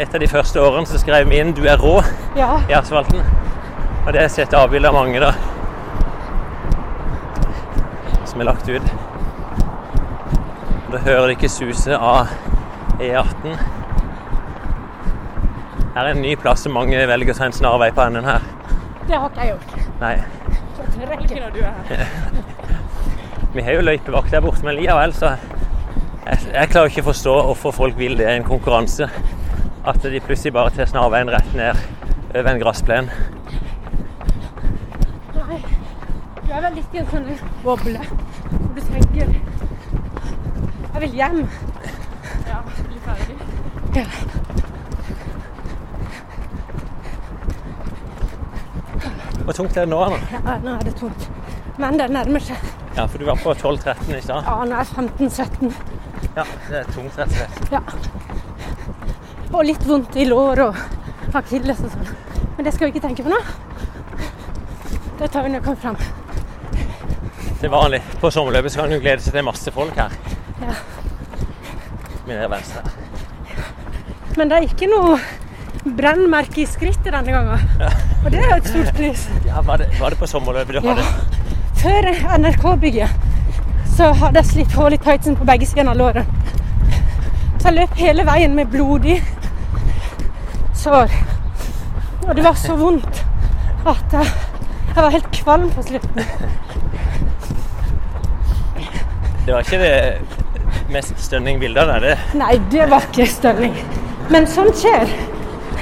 Speaker 2: et av de første årene så skrev vi inn 'Du er rå'.
Speaker 1: Ja.
Speaker 2: i asfalten. Og det har jeg sett avbilde av mange, da. Som er lagt ut. Da hører det ikke suse av E18. Her er en ny plass som mange velger å ta en snarvei på enden her.
Speaker 1: Det har ikke jeg gjort.
Speaker 2: Nei,
Speaker 1: Så jeg tør
Speaker 3: Ikke
Speaker 1: ikke.
Speaker 3: når du er her.
Speaker 2: vi har jo løypevakt der borte, men likevel så jeg, jeg klarer ikke å forstå hvorfor folk vil det i en konkurranse. At de plutselig bare tar snarveien rett ned over en gressplen.
Speaker 1: Nei. Du er vel litt i en sånn boble hvor du tenker Jeg vil hjem.
Speaker 3: Ja, bli ferdig.
Speaker 1: Ja.
Speaker 2: Hvor tungt er det nå, Anna?
Speaker 1: ja, nå er det tomt. Men det nærmer seg.
Speaker 2: Ja, for du var på 12-13 i stad.
Speaker 1: Ja, nå er jeg 15-17.
Speaker 2: Ja, det er tungt, rett og slett.
Speaker 1: Ja. Og litt vondt i lår og akilles og sånn. Men det skal vi ikke tenke på nå. Det tar vi når vi kommer fram.
Speaker 2: Til vanlig på sommerløpet så kan du glede seg til masse folk her.
Speaker 1: Ja.
Speaker 2: Min er venstre.
Speaker 1: Men det er ikke noe brennmerke i skrittet denne gangen. Og det er jo et stort pris.
Speaker 2: Ja, var det, var det på sommerløpet du
Speaker 1: Ja.
Speaker 2: hadde?
Speaker 1: Før NRK-bygget så hadde jeg slitt hull i tightsen på begge sider av låret. Så jeg løp hele veien med blodig sår. Og det var så vondt at jeg, jeg var helt kvalm på slutten.
Speaker 2: Det var ikke det mest stunning bildet av det.
Speaker 1: Nei, det var ikke stønning. Men sånt skjer.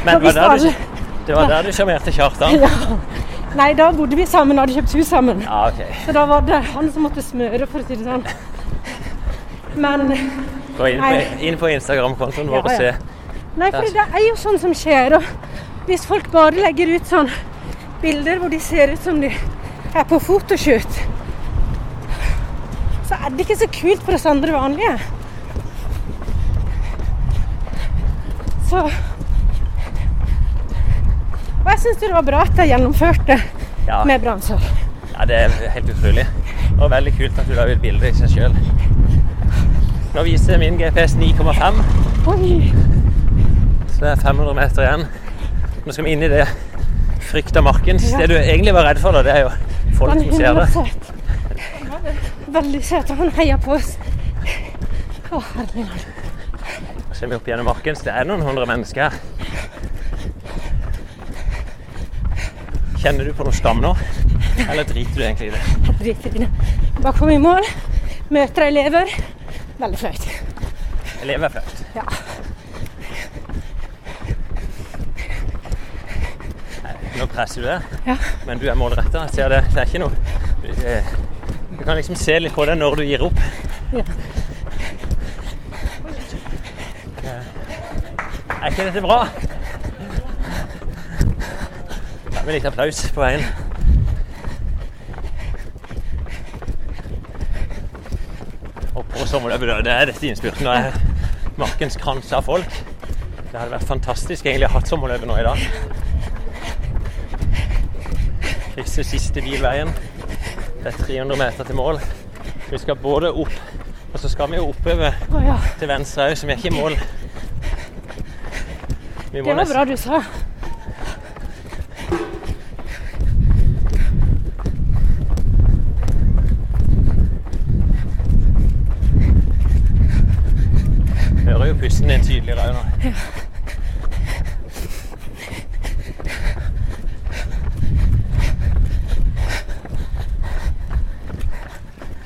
Speaker 2: Men det var
Speaker 1: Hvis
Speaker 2: der du,
Speaker 1: alle-
Speaker 2: det var der du sjarmerte Kjartan?
Speaker 1: Ja. Nei, da bodde vi sammen og hadde kjøpt hus sammen.
Speaker 2: Ja, ok.
Speaker 1: Så da var det han som måtte smøre, for å si det sånn. Men
Speaker 2: Gå inn på,
Speaker 1: Nei.
Speaker 2: inn på Instagram-kontoen vår
Speaker 1: Ja,
Speaker 2: og
Speaker 1: ja.
Speaker 2: se.
Speaker 1: Nei, for det er jo sånn som skjer. Og hvis folk bare legger ut sånn bilder hvor de ser ut som de er på fotoshoot, så er det ikke så kult for oss andre vanlige. Så Og jeg syns det var bra at jeg gjennomførte
Speaker 2: Ja.
Speaker 1: med brannsår.
Speaker 2: Ja, det er helt utrolig. Og veldig kult at du la ut bilde i seg sjøl. Nå viser min GPS 9,5,
Speaker 1: Oi!
Speaker 2: så det er 500 meter igjen. Nå skal vi inn i det frykta marken.
Speaker 1: Ja. Sånn
Speaker 2: Det du egentlig var redd for, da, det er jo folk
Speaker 1: Han
Speaker 2: som ser
Speaker 1: er
Speaker 2: det.
Speaker 1: søt. Veldig søt. Og han heier på oss. Å, herregud.
Speaker 2: Så kommer vi opp gjennom marken, så det er noen hundre mennesker her. Kjenner du på noe skam nå? Eller driter du egentlig i det?
Speaker 1: dritfine. Bare kom i mål, møter elever. Veldig flaut.
Speaker 2: Jeg lever flaut.
Speaker 1: Ja.
Speaker 2: Nå presser du det,
Speaker 1: Ja.
Speaker 2: men du er målretta. Jeg ser det. Det er ikke noe det- Du kan liksom se litt på det når du gir opp.
Speaker 1: Ja.
Speaker 2: Er ikke dette bra? Ta med litt applaus på veien. Og på sommerløpet, da. Det er dette innspurten. Nå er markens krans av folk. Det hadde vært fantastisk egentlig å ha hatt sommerløpet nå i dag. Krysse siste bilveien. Det er 300 meter til mål. Vi skal både opp, og så skal vi jo oppover
Speaker 1: Å ja.
Speaker 2: til venstre òg, så vi er ikke i mål. Vi
Speaker 1: Det
Speaker 2: må
Speaker 1: var
Speaker 2: nesten-
Speaker 1: bra du sa.
Speaker 2: Hører jo pusten din tydeligere òg nå.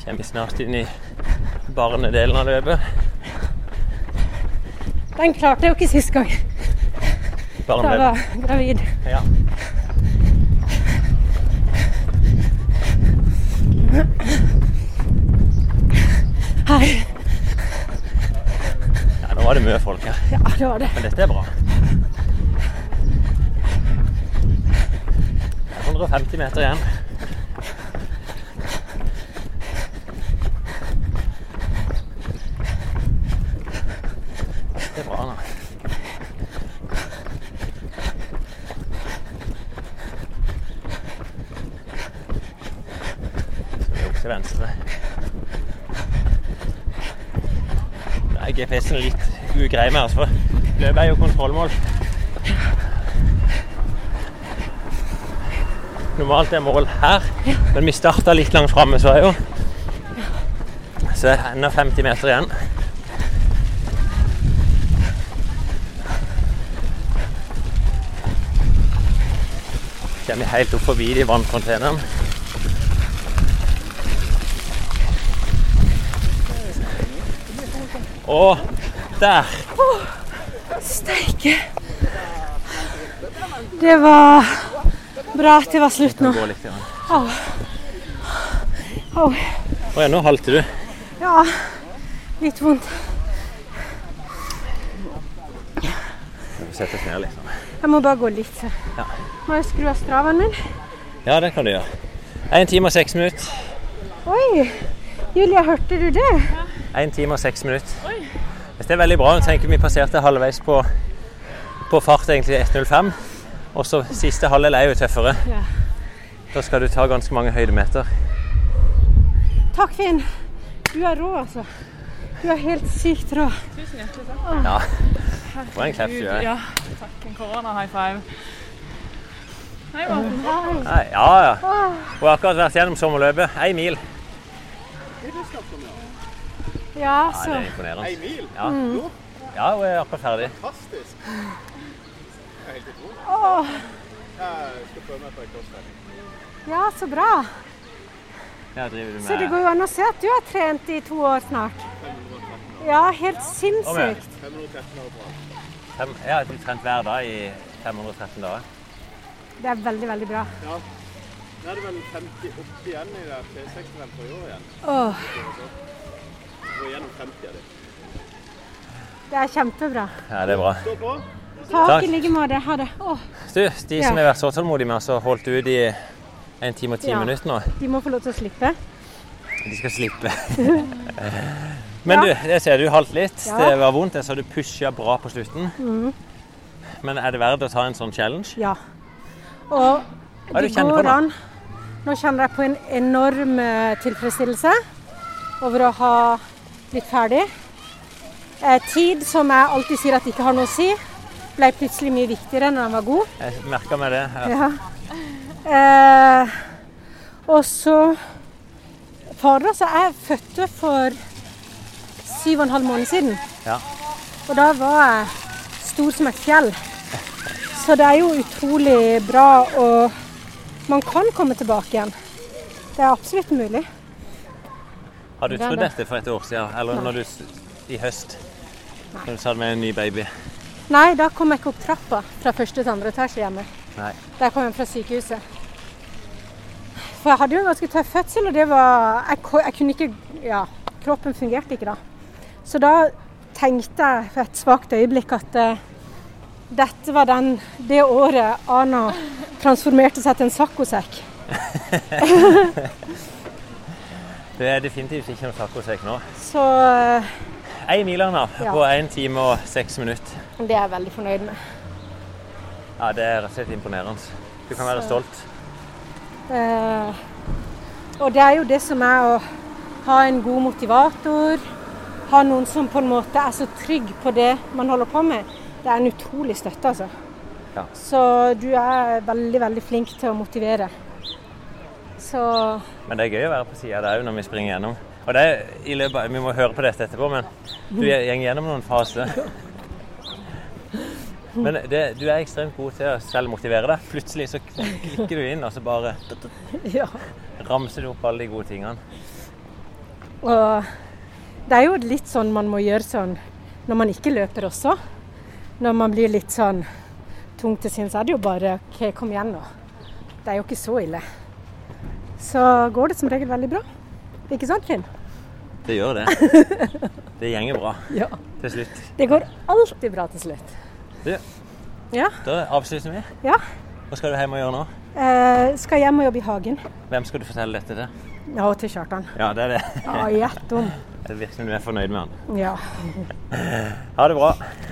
Speaker 2: Kommer vi snart inn i barnedelen av løpet.
Speaker 1: Den klarte jeg jo ikke sist gang. Da
Speaker 2: Barnedelen.
Speaker 1: jeg var gravid.
Speaker 2: Ja.
Speaker 1: Her.
Speaker 2: ja, nå var det mye folk her.
Speaker 1: Ja, det var det.
Speaker 2: Men dette er bra. Det er 150 meter igjen. Det er bra nå. Så vi er opp til venstre. Da er GPS-en litt ugrei med oss, for løpet er jo kontrollmål. Normalt er mål her, men vi starta litt langt framme, så er jo Så det er ennå 50 meter igjen. Kommer helt opp forbi de vanncontainerne. Og der!
Speaker 1: Steike. Det var bra at det var slutt nå.
Speaker 2: Gå litt igjen.
Speaker 1: Au.
Speaker 2: Å ja, nå halter du.
Speaker 1: Ja, litt vondt.
Speaker 2: Vi setter oss ned litt. sånn.
Speaker 1: Jeg må bare gå litt. så.
Speaker 2: Ja.
Speaker 1: Må jeg skru av straven min?
Speaker 2: Ja, det kan du gjøre. Én time og seks minutter.
Speaker 1: Oi! Julia, hørte du det?
Speaker 2: Én time og seks minutter. Det er veldig bra. Jeg tenker Vi passerte halvveis på, på fart, egentlig 1.05. Og så siste halvdel er jo tøffere.
Speaker 1: Ja.
Speaker 2: Da skal du ta ganske mange høydemeter.
Speaker 1: Takk, Finn. Du er rå, altså. Du er helt sykt rå.
Speaker 3: Tusen hjertelig takk.
Speaker 2: Ja. Det var en klapp du
Speaker 3: Gud,
Speaker 2: gjør.
Speaker 3: ja. Takk. En korona-high five. Hei, Martin.
Speaker 1: Wow.
Speaker 2: Nei, ja, ja. Hun har akkurat vært gjennom sommerløpet. Én mil.
Speaker 1: Ja,
Speaker 2: Ja, det
Speaker 1: så
Speaker 2: er imponerende.
Speaker 4: Ei mil?
Speaker 2: Ja.
Speaker 4: Jo,
Speaker 2: ja, hun er akkurat ferdig.
Speaker 4: fantastisk. Det er helt utrolig. Jeg skal prøve meg på en crossfit.
Speaker 1: Ja, så bra.
Speaker 2: Ja, driver du
Speaker 1: Så det
Speaker 2: med
Speaker 1: går jo an å se at du har trent i to år snart. Ja, helt sinnssykt.
Speaker 4: 513 år bra.
Speaker 2: fem, Ja, jeg har trent hver dag i 513 dager.
Speaker 1: Det er veldig, veldig bra.
Speaker 4: Ja. Nå er det vel 50 opp igjen i det P60-en for i år igjen.
Speaker 1: Åh,
Speaker 4: Gå gjennom 50 av det.
Speaker 1: det er kjempebra.
Speaker 2: Ja, det er bra.
Speaker 4: Stå på.
Speaker 1: Takk
Speaker 2: Takk.
Speaker 1: i like måte. Ha det. Åh,
Speaker 2: Du, de som
Speaker 1: Ja.
Speaker 2: har vært så tålmodige med oss og holdt ut i en time og ti
Speaker 1: Ja.
Speaker 2: minutter nå,
Speaker 1: de må få lov til å slippe.
Speaker 2: de skal slippe. Men du, det ser du halvt litt.
Speaker 1: Ja. Mm.
Speaker 2: Det var vondt. Jeg så du pusha bra på slutten. Men er det verdt å ta en sånn challenge?
Speaker 1: Ja. Og
Speaker 2: Hva er det
Speaker 1: det
Speaker 2: du kjenner på
Speaker 1: går
Speaker 2: nå?
Speaker 1: an. Nå kjenner jeg på en enorm eh, tilfredsstillelse over å ha blitt ferdig. Eh, tid, som jeg alltid sier at ikke har noe å si, ble plutselig mye viktigere når den var god.
Speaker 2: Jeg merka meg det. Ja.
Speaker 1: Ja. Eh, og så Fader, altså. Jeg fødte for syv og en halv måned siden.
Speaker 2: Ja.
Speaker 1: Og da var jeg stor som et fjell. Så det er jo utrolig bra, og man kan komme tilbake igjen. Det er absolutt mulig.
Speaker 2: Har du
Speaker 1: Det er
Speaker 2: trodd
Speaker 1: det.
Speaker 2: dette for et år siden? Eller når du, s- i høst? Når du sa det med en ny baby?
Speaker 1: Nei, da kom jeg ikke opp trappa fra første til andre etasje hjemme.
Speaker 2: Nei.
Speaker 1: Da jeg kom hjem fra sykehuset. For jeg hadde jo en ganske tøff fødsel, og det var Jeg, ko- jeg kunne ikke Ja, kroppen fungerte ikke da. Så da tenkte jeg for et svakt øyeblikk at eh, dette var den, det året Ana transformerte seg til en saccosekk.
Speaker 2: Det er definitivt ikke noe tacosekk nå.
Speaker 1: Så eh,
Speaker 2: Én mil Anna,
Speaker 1: Ja.
Speaker 2: på én time og seks minutter.
Speaker 1: det er jeg veldig fornøyd med.
Speaker 2: Ja, Det er rett og slett imponerende. Du kan være
Speaker 1: Så-
Speaker 2: stolt.
Speaker 1: Eh, og det er jo det som er å ha en god motivator, ha noen som på en måte er så trygg på det man holder på med. Det er en utrolig støtte, altså.
Speaker 2: Ja.
Speaker 1: Så du er veldig, veldig flink til å motivere. Så
Speaker 2: Men det er gøy å være på sida der òg når vi springer gjennom. Og det er i løpet av, Vi må høre på dette etterpå, men du går gjennom noen faser. Men det, du er ekstremt god til å selv motivere deg. Plutselig så klikker du inn, og så bare
Speaker 1: ja.
Speaker 2: ramser du opp alle de gode tingene.
Speaker 1: Og det er jo litt sånn man må gjøre sånn når man ikke løper også. Når man blir litt sånn tung til sinns, er det jo bare OK, kom igjen nå. Det er jo ikke så ille. Så går det som regel veldig bra. Ikke sant, Finn?
Speaker 2: Det gjør det. Det gjenger bra
Speaker 1: Ja.
Speaker 2: til slutt.
Speaker 1: Det går alltid bra til slutt.
Speaker 2: Du,
Speaker 1: Ja.
Speaker 2: da avslutter vi.
Speaker 1: ja.
Speaker 2: Hva skal du hjem og gjøre nå?
Speaker 1: Eh, skal hjem og jobbe i hagen.
Speaker 2: Hvem skal du fortelle dette til?
Speaker 1: Ja, og til Kjartan.
Speaker 2: Ja, det er det.
Speaker 1: Ja, gjett om.
Speaker 2: Det virker som du er fornøyd med han.
Speaker 1: Ja.
Speaker 2: Ha det bra.